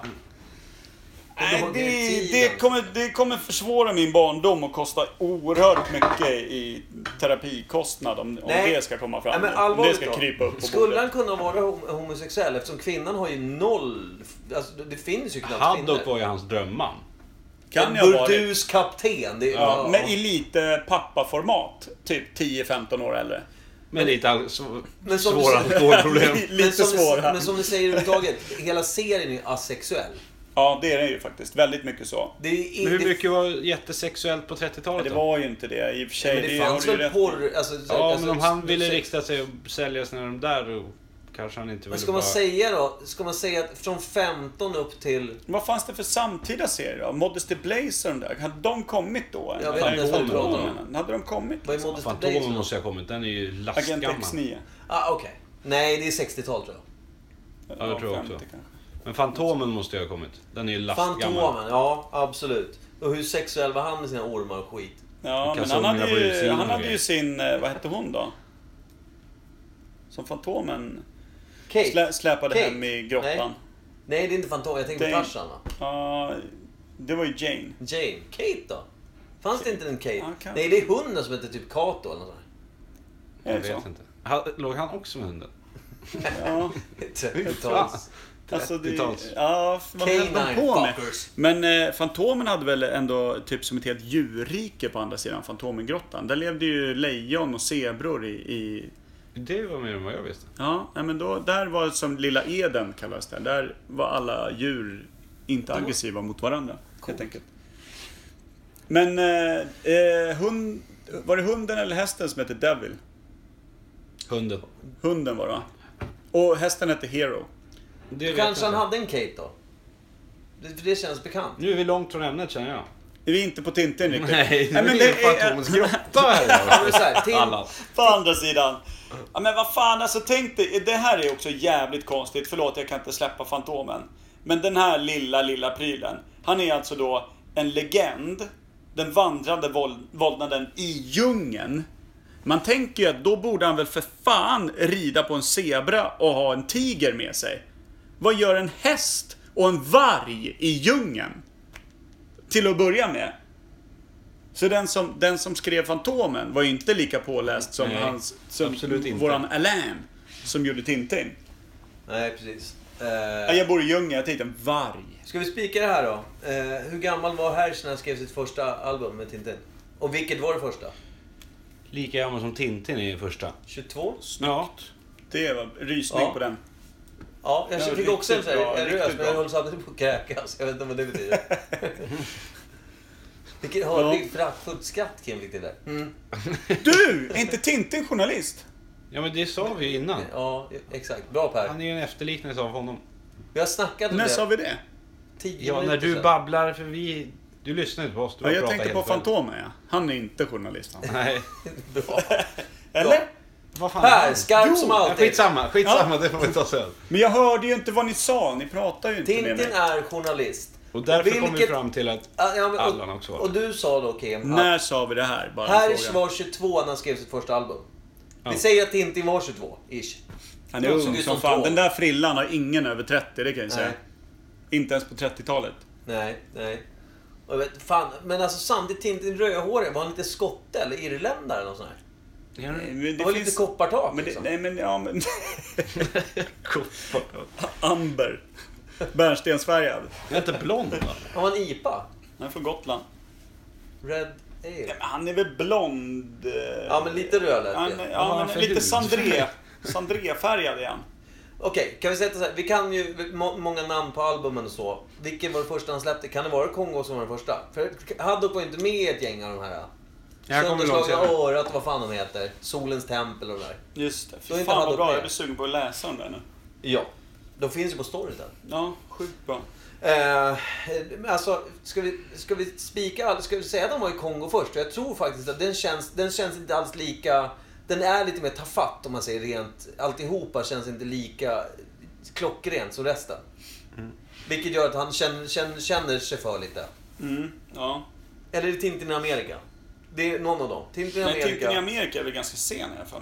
Nej, ihåg det, direktiven. det, kommer, det kommer försvåra min barndom och kosta oerhört mycket i terapikostnad om, om Nej. det ska komma Nej, fram. men om det allvarligt ska då. krypa upp på Skulle han bordet. kunna vara hom- homosexuell? Eftersom kvinnan har ju noll... Alltså, det finns ju knappt Haddock var ju hans drömman. Kan jag en vara det? burdus kapten. Det, ja, Men i lite pappaformat. Typ 10-15 år äldre. Med lite all- sv- Men som du svåra säger- alkoholproblem. Li- men, lite som svår ni, här. men som ni säger överhuvudtaget, hela serien är asexuell. Ja, det är det ju faktiskt. Väldigt mycket så. Det är Men inte- hur mycket var jättesexuellt på Men 30-talet Det då? var ju inte det i och för sig. Men det har fanns du ju väl rätt i. porr... Alltså, Ja, alltså, men om han ville liksom- sex- rikta sig och sälja sina de där då kanske han inte ville Men ska man bara- säga då? Ska man säga att från 15 upp till... Vad fanns det för samtida serier då? Modesty Blazer och de där. Hade de kommit då? Jag vet Hade inte ens vad de du pratar om. kommit då? Hade de kommit? Vad är Modest Today? Fantomen måste jag ha kommit, den är ju Agent lastgammal. X9. Ah, okej. Nej, det är 60-tal tror jag. Ja, det tror jag 50 också. kanske. Men Fantomen måste jag ha kommit, den är ju lastgammal. Fantomen, ja absolut. Och hur sexuell var han med sina ormar och skit? Ja, men han kalsongerna hade på ju, utsidan han och hade ju grejer. sin, eh, vad hette hon då? Som Fantomen Kate? slä, släpade Kate? hem i grottan. Nej. Nej, det är inte Fantomen. Jag tänker på Dane. Tarzan va? Ja, det var ju Jane. Jane? Kate då? Fanns det inte en Kate? Ja, kanske. Nej, det är hunden som heter typ Kato eller nåt sånt. Är Jag det vet så? inte. Han, låg han också med hunden? Ja, där. fan. Tals. alltså det... 30-tals. Ja, vad höll de Canine på med? fuckers. Men eh, Fantomen hade väl ändå typ som ett helt djurrike på andra sidan Fantomengrottan. Där levde ju lejon och zebror i... i Det var mer än vad jag visste. ja, nej, men då, där var det som Lilla Eden kallades det. Där var alla djur inte aggressiva mot varandra. Helt enkelt. Men eh, eh, hund, var det hunden eller hästen som hette Devil? Hunden. Hunden var det va? Och hästen hette Hero. Det vet Kanske jag han inte. hade en Kate då? Det, för det känns bekant. Nu är vi långt från ämnet känner jag. Vi är inte på Tintin riktigt. nu är men vi i det är- Fantomens grotta här. Men så här, till- Alla. På andra sidan. Ja, men vad fan, alltså tänk dig. Det här är också jävligt konstigt. Förlåt, jag kan inte släppa Fantomen. Men den här lilla, lilla prylen. Han är alltså då en legend. Den vandrande våld, våldnaden i djungeln. Man tänker ju att då borde han väl för fan rida på en zebra och ha en tiger med sig. Vad gör en häst och en varg i djungeln? Till att börja med. Så den som, den som skrev Fantomen var ju inte lika påläst som, Nej, hans, som absolut inte. våran Alain som gjorde Tintin. Nej, precis. Ja, Eh, Jag bor i djungeln, jag tänkte en varg. ska vi spika det här då? Eh, hur gammal var Hersch när han skrev sitt första album med Tintin? Och vilket var det första? Lika gammal som Tintin är i första. 22? Ja. Det var rysning Ja. på den. Ja, jag Ja, fick riktigt också en sån bra, här en röst, riktigt men jag bra. höll samtidigt på att kräkas. Jag vet inte vad det betyder. Vilket hörligt föraktfullt skratt Kim fick till där. Mm. Du! Är inte Tintin journalist? Ja men det sa vi ju innan. Mm, Ja, exakt. Bra Per. Han är ju en efterliknelse av honom. Vi har snackat om När sa det vi det? tio Ja, när minuter du sedan. babblar för vi... Du lyssnar inte på oss. Du Ja, bara jag pratar tänkte på helt själv. Fantomen ja. Han är inte journalist han. Nej. Bra. Eller? Vad fan Per, skarp som Ja, alltid. skitsamma, skitsamma. Det får vi ta sen. Men jag hörde ju inte vad ni sa, ni pratade ju inte med Tintin mig. är journalist. Och därför kom vi Vilket- fram till att... Ja, ja, men, och, Allan också var det. Och du sa då Kim När att sa vi det här? Bara en Hersch fråga. var 22 när han skrev sitt första album. Vi Ja. säger att Tintin var 22, ish. Han är Jag såg ung ut som som fan. tå. Den där frillan har ingen över 30, det kan jag säga. Nej. Inte ens på 30-talet. Nej, nej. Och jag vet, fan, men alltså samtidigt Tintin rödhårig, var han inte skotte eller irländare eller något sånt här? Men det Det var lite koppartak Men det, liksom. nej men ja men... Amber. Bärnstensfärgad. Jag är inte blond va? Han var en IPA. Han är från Gotland. Red Ale. Men Han är väl blond? eh, Ja, men lite röd lät det. han, Vad har ja, han men för lite hud? sandré. Sandréfärgad är han. Okej, kan vi sätta så här. Vi kan ju må, många namn på albumen och så. Vilken var det första han släppte? Kan det vara Kongo som var den första? För Haddock var ju inte med i ett gäng av de här. äh, Jag kommer långt Sönderslagna senare. örat, vad fan de heter. Solens tempel och det där. Just det. Då är Fy inte fan han vad bra. med. Jag blir sugen på att läsa om det nu. Ja. De finns ju på Storytel. Ja, sjukt bra. Eh, men alltså, ska vi, ska vi spika all- Ska vi säga att de var i Kongo först? Jag tror faktiskt att den känns, den känns inte alls lika... den är lite mer tafatt om man säger rent. Alltihopa känns inte lika klockrent som resten. Mm. Vilket gör att han känner, känner, känner sig för lite. Mm, ja. Eller är det Tintin i Amerika? Det är någon av dem. Tintin i Men Amerika. Tintin i Amerika är väl ganska sen i alla fall.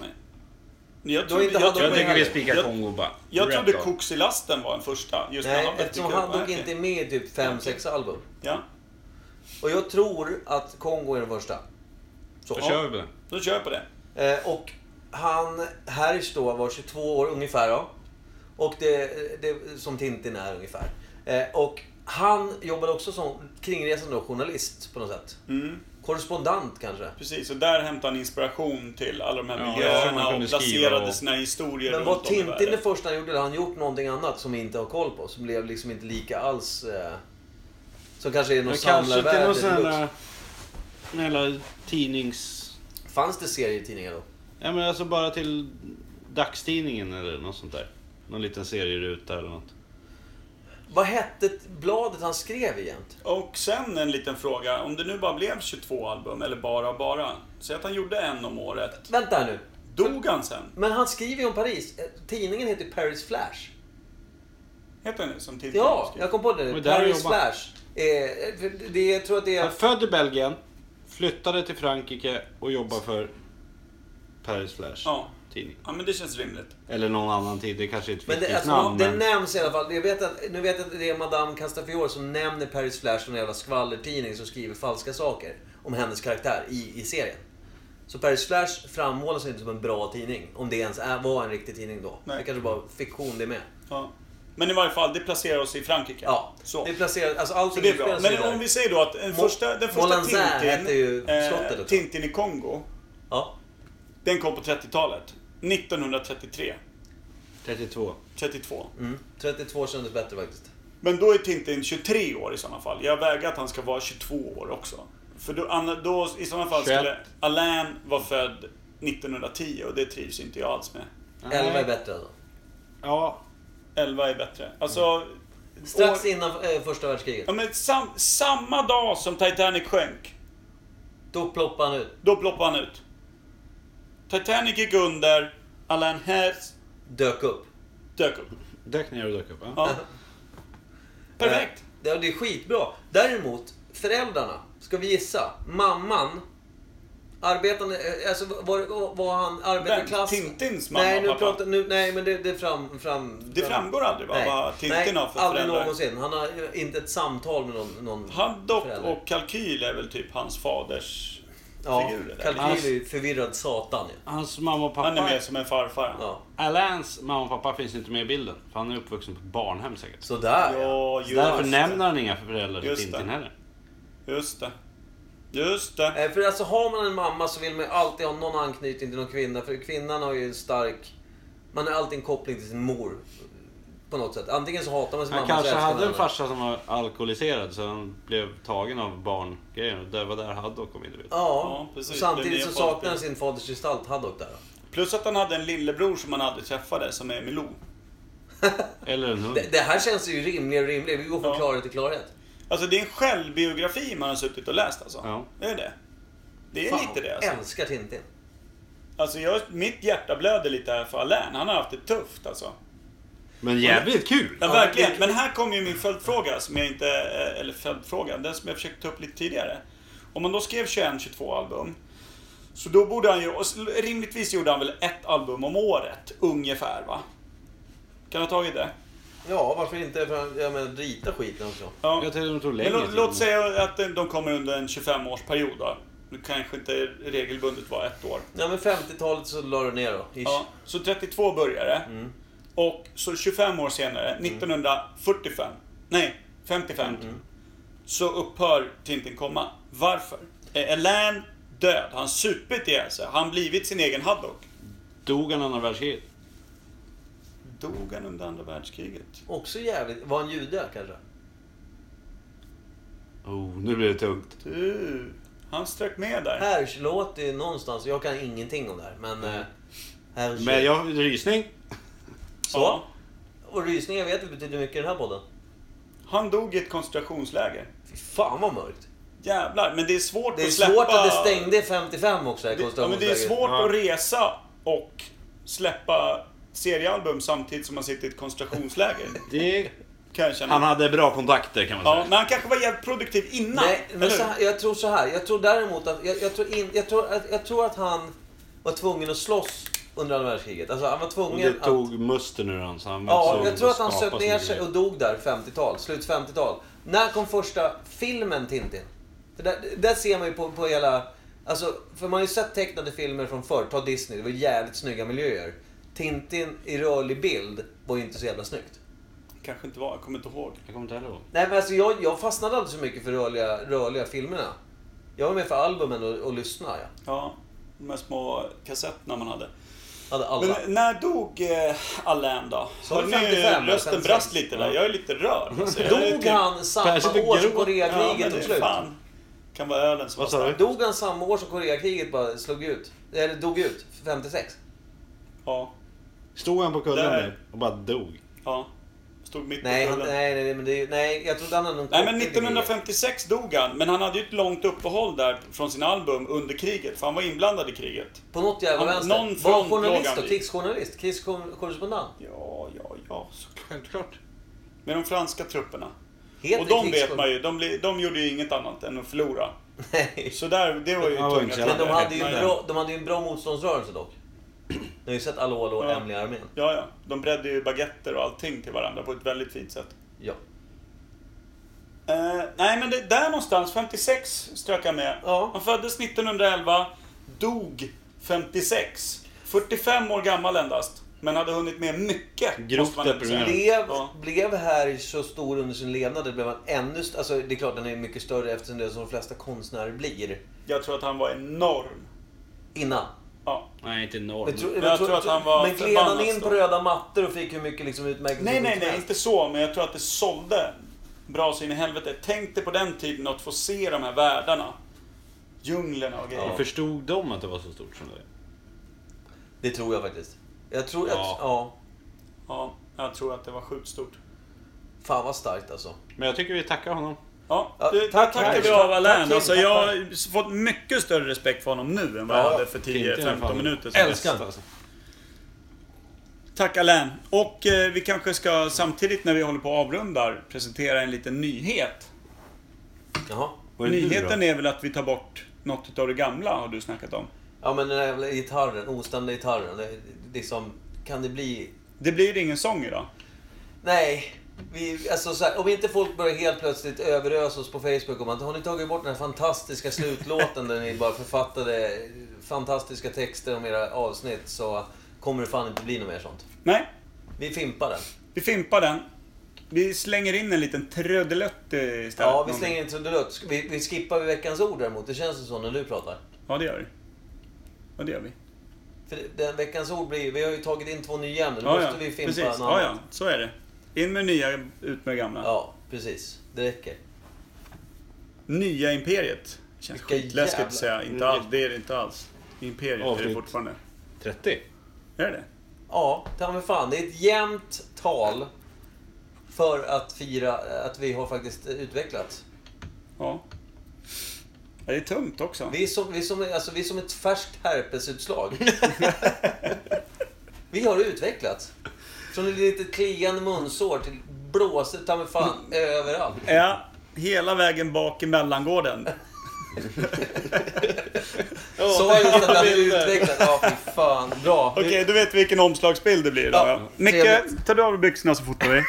Jag Du har trodde, inte jag hand om Jag trodde, tycker pengarna. vi spikar Jag- Kongo bara. jag Rap trodde då. Koks i lasten var den första. Just när Nej, han var eftersom tycker han jag. dock Okej. inte är med i typ 5-6 album. Ja, Och jag tror att Kongo är den första. Så. Då kör vi på den. då kör jag på det. Eh, Och han, Hersch då, var 22 år ungefär då. Och det, det som Tintin är ungefär. Eh, Och han jobbade också som kringresande då, journalist på något sätt. Mm, Korrespondent kanske. precis, och där hämtade han inspiration till alla de här Ja, som miljöerna han kunde och skriva placerade och- sina historier Men runt var om i Tintin världen. det första han gjorde, eller har han gjort någonting annat som vi inte har koll på? Som blev liksom inte lika alls... Eh, som kanske är någon Men kanske till någon sån samlarvärde. här... någon jävla tidnings... Fanns det serietidningar då? Ja men alltså bara till dagstidningen eller något sånt där. Någon liten serieruta eller något. Vad hette bladet han skrev egent? Och sen en liten fråga. Om det nu bara blev 22 album, eller bara bara. Säg att han gjorde en om året. Vänta här nu. Dog han sen? Men han skriver ju om Paris. Eh, Tidningen heter Paris Flash. Heter han det som Tintin? Ja, skrev? jag kom på det nu. Och där har Paris jobbat. Flash. Eh, det, jag tror att det Han är är... född i Belgien, flyttade till Frankrike och jobbar för Paris Flash Ja. tidning. ja, men det känns rimligt. Eller någon annan tid, det kanske är ett Men fiktivt det, alltså, namn. det men... nämns i alla fall. Jag vet att, nu vet jag att det är Madame Castafiore som nämner Paris Flash som en jävla skvallertidning som skriver falska saker om hennes karaktär i, i serien. Så Paris Flash framhålls inte som en bra tidning. Om det ens är, var en riktig tidning då. Nej. Det kanske bara fiktion det med. Ja. Men i varje fall, det placerar oss i Frankrike. Ja, Så. det är placerat... Alltså allting Så det är bra. utspelar sig Men där. om vi säger då att den första, den första Molanzin hette ju Tintin, slottet eh, också. Tintin i Kongo, Ja. den kom på 30-talet. 1933. 32. 32. Mm. 32 kändes bättre faktiskt. Men då är Tintin 23 år i sådana fall. Jag vägrar att han ska vara 22 år också. För då, anna- då i sådana fall 21. skulle Alain vara född 1910 och det trivs inte jag alls med. 11 är bättre alltså. då. Ja, 11 är bättre. Alltså... Mm. Strax år- innan eh, första världskriget. ja, men sam, samma dag som Titanic sjönk, Då ploppar han ut. då ploppade han ut. Titanic gick under, Alain Hess Dök upp. dök upp. dök ner och dök upp. Ja. Ja. Perfekt! Eh, Ja, det är skitbra. Däremot, föräldrarna. Ska vi gissa? Mamman. Arbetande, eh, alltså var, var han arbetarklass? Vem? Tintins mamma nej, nu och pappa? pratar, nu, nej, men det, det fram, fram... Det framgår aldrig va, vad Tintin har för aldrig föräldrar. någonsin. Han har eh, inte ett samtal med någon, någon Haddock förälder. och Kalkyl är väl typ hans faders ja, figurer. där. Kalkyl är ju förvirrad satan ju. Hans mamma och Han är pappa... mer som en farfar. Ja, Ja. Alains mamma och pappa finns inte med i bilden. För han är uppvuxen på ett barnhem säkert. Så Sådär just därför det. nämner han inga föräldrar till Just Tintin det. heller. Just det. Just det. Eh, För alltså har man en mamma så vill man ju alltid ha någon anknytning till någon kvinna. För kvinnan har ju en stark... Man har alltid en koppling till sin mor. På något sätt. Antingen så hatar man sin Han mamma kanske så älskar man hade en henne. farsa som var alkoholiserad så han blev tagen av barngrejen. Och det var där Haddock kom in i bilden. Ja, Ja, precis. och Det är samtidigt så det saknar folket. han sin faders gestalt, Haddock där. Plus att han hade en lillebror som han aldrig träffade, som är Milou. Eller en hund. Det, det här känns ju rimligare och rimligare. Vi går från Ja. klarhet till klarhet. Alltså det är en självbiografi man har suttit och läst alltså. Ja. Det är det. Det är Fan, lite det alltså. älskar Tintin. alltså jag, mitt hjärta blöder lite här för Alain. Han har haft det tufft alltså. Men jävligt kul! Ja, Ja, verkligen. det- Men här kommer ju min följdfråga som jag inte... eh, Eller följdfråga, den som jag försökte ta upp lite tidigare. Om man då skrev 21-22 album. Så då borde han ju... och s- Rimligtvis gjorde han väl ett album om året, ungefär va? Kan ha tagit det? Ja, varför inte? För han- jag menar, rita skiten också. Ja. Jag tänkte de tog Men längre låt, tid. låt säga att de kommer under en 25-årsperiod då. Det kanske inte regelbundet var ett år. Ja, men 50-talet så la du ner då. Ish. Ja, så 32 började Mm. Och så 25 år senare, 1945, nej 55, Mm. så upphör Tintin komma. Varför? Är Alain död? Han supit ihjäl sig? Har han blivit sin egen Haddock? Dog han andra världskriget? Dog han under andra världskriget? Också jävligt... Var han jude kanske? Oh, nu blir det tungt. Du, han strök med där. Hersch låter ju någonstans... Jag kan ingenting om det här, men... Mm. Hersch... Men jag har rysning. Så. Ja. Och rysningar vet vi betyder mycket i den här podden. Han dog i ett koncentrationsläger. Fy fan vad mörkt. Jävlar, men det är svårt Det är att släppa... svårt att det stängde i 55 också. här, Det, ja, men det är koncentrationslägret. svårt att resa och släppa seriealbum samtidigt som man sitter i ett koncentrationsläger. Det... Kan jag känna. Han hade bra kontakter kan man säga. Ja, men han kanske var jävligt produktiv innan. Nej, men eller så hur? här, jag tror så här. Jag tror däremot att, jag, jag, tror in, jag, tror, att, jag tror att han var tvungen att slåss under andra världskriget. Alltså han var Och tvungen det att... tog musten ur hans han Ja, som jag tror att han skapar söp ner sin sig grej. och dog där 50-tal, slut 50-tal. När kom första filmen Tintin? För där, där ser man ju på, på hela... Alltså, för man har ju sett tecknade filmer från förr. Ta Disney, det var jävligt snygga miljöer. Tintin i rörlig bild var ju inte så jävla snyggt. Kanske inte var, jag kommer inte ihåg. Jag kommer inte heller ihåg. Nej men alltså jag, jag fastnade aldrig så mycket för rörliga, rörliga filmerna. Jag var med för albumen och, och lyssnade. Ja. Ja, de här små kassetterna man hade. Jag hade alla. Men när dog eh, Alain då? Sa Har du ni 55? rösten 56? brast lite där? Jag är lite rörd. alltså. Jag är Dog typ- han samma Kanske det år som grå- Ja, Koreakriget men tog det är slut? fan. Kan vara ölen som Vad var sa du? stark. Dog han samma år som Koreakriget bara slog ut? Eller dog ut? 56? Ja, Stod han på kudden Där. där och bara dog? ja. Stod mitt Nej, på han, kullen. nej, nej, men det, är- nej, jag trodde han hade någon Nej men koppling till 1956 dog han, men han hade ju ett långt uppehåll där från sina album under kriget, för han var inblandad i kriget. kriget. På något jävla Han- vänster. någon Var front han journalist låg då? han i. Krigsjournalist? Krigskorrespondent? Ja, ja, ja, såklart. Självklart. Med de franska trupperna. Heter Och de det vet krigskorre- man ju, de, bli- de gjorde ju inget annat än att förlora. Nej. Så där, det var ju Ja, tunga men trupper. Men de hade, ju Nej, en nej. bra, de hade ju en bra motståndsrörelse dock. Ni har ju sett Allo Allo och Ja. Hemliga armén. Ja, ja. De bredde ju baguetter och allting till varandra på ett väldigt fint sätt. Ja. Eh, nej, men det, där någonstans, 56 strök jag med. Ja. Han föddes 1911, dog 56. 45 år gammal endast. Men hade hunnit med mycket. Grovt måste man ändå säga. deprimerande. Blev, Ja. blev Harry så stor under sin levnad? eller Blev han ännu st- alltså, det är klart den är mycket större eftersom det är som de flesta konstnärer blir. Jag tror att han var enorm. Innan. Ja. Nej, inte enorm. Men, tro, jag men, tror att han var men gled han förbannad in stor. på röda mattor och fick hur mycket liksom, utmärkelser Nej, som nej, nej, helst? inte så. Men jag tror att det sålde bra så in i helvete. Tänk dig på den tiden att få se de här världarna. Djunglerna och grejer. Ja. Förstod de att det var så stort som det är? Det tror jag faktiskt. Jag tror att... Ja. Ja. Ja, jag tror att det var sjukt stort. Fan vad starkt alltså. Men jag tycker vi tackar honom. Ja, Ja, du, tack, tackar tack. vi av Tack, Alain. tack. Alltså, jag har fått mycket större respekt för honom nu än vad jag Ja, hade för Tintin i alla 10-15 fall. minuter sedan. Älskar han. Alltså. Tack Alain. Och eh, vi kanske ska samtidigt när vi håller på och avrundar presentera en liten nyhet. Jaha. Vad är det nu Nyheten då? är väl att vi tar bort något av det gamla har du snackat om. Ja men den där jävla gitarren, oständiga gitarren. Det, det är som, kan det bli... Det blir ingen sång idag. Nej. Vi, alltså så här, om inte folk börjar helt plötsligt överösa oss på Facebook om att har ni tagit bort den här fantastiska slutlåten där ni bara författade fantastiska texter om era avsnitt så kommer det fan inte bli något mer sånt. Nej, Vi fimpar den. vi fimpar den. Vi slänger in en liten trudelutt eh, istället. Ja, vi Någon- slänger inte trudelutt. Vi, vi skippar veckans ord däremot. Det känns ju så när du pratar. Ja, det gör vi. Ja, det gör vi. För den veckans ord blir vi har ju tagit in två nya ämnen. Då Ja, måste ja, vi fimpa precis. en Ja, ja, annan. så är det. In med nya, ut med gamla. Ja, precis. Det räcker. Nya Imperiet. Känns Vilka skitläskigt att jävla- säga. Inte alls, det är det inte alls. Imperiet är det Avsnitt. fortfarande. 30? Är det det? Ja, ta mig fan. Det är ett jämnt tal för att fira att vi har faktiskt utvecklats. Ja. ja det är tungt också. Vi är som, vi är som, alltså, vi är som ett färskt herpesutslag. vi har utvecklats. Från ett litet kliande munsår till blåsigt ta mig fan Mm. överallt. Ja, hela vägen bak i mellangården. Så är just att vi har utvecklat. Ja, fy fan. Bra. Okej, då vet vi vilken omslagsbild det blir idag. Ja, Ja. Micke, trevligt. tar du av dig byxorna så fotar vi.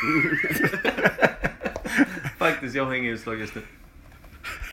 Faktiskt, jag har inget utslag just nu.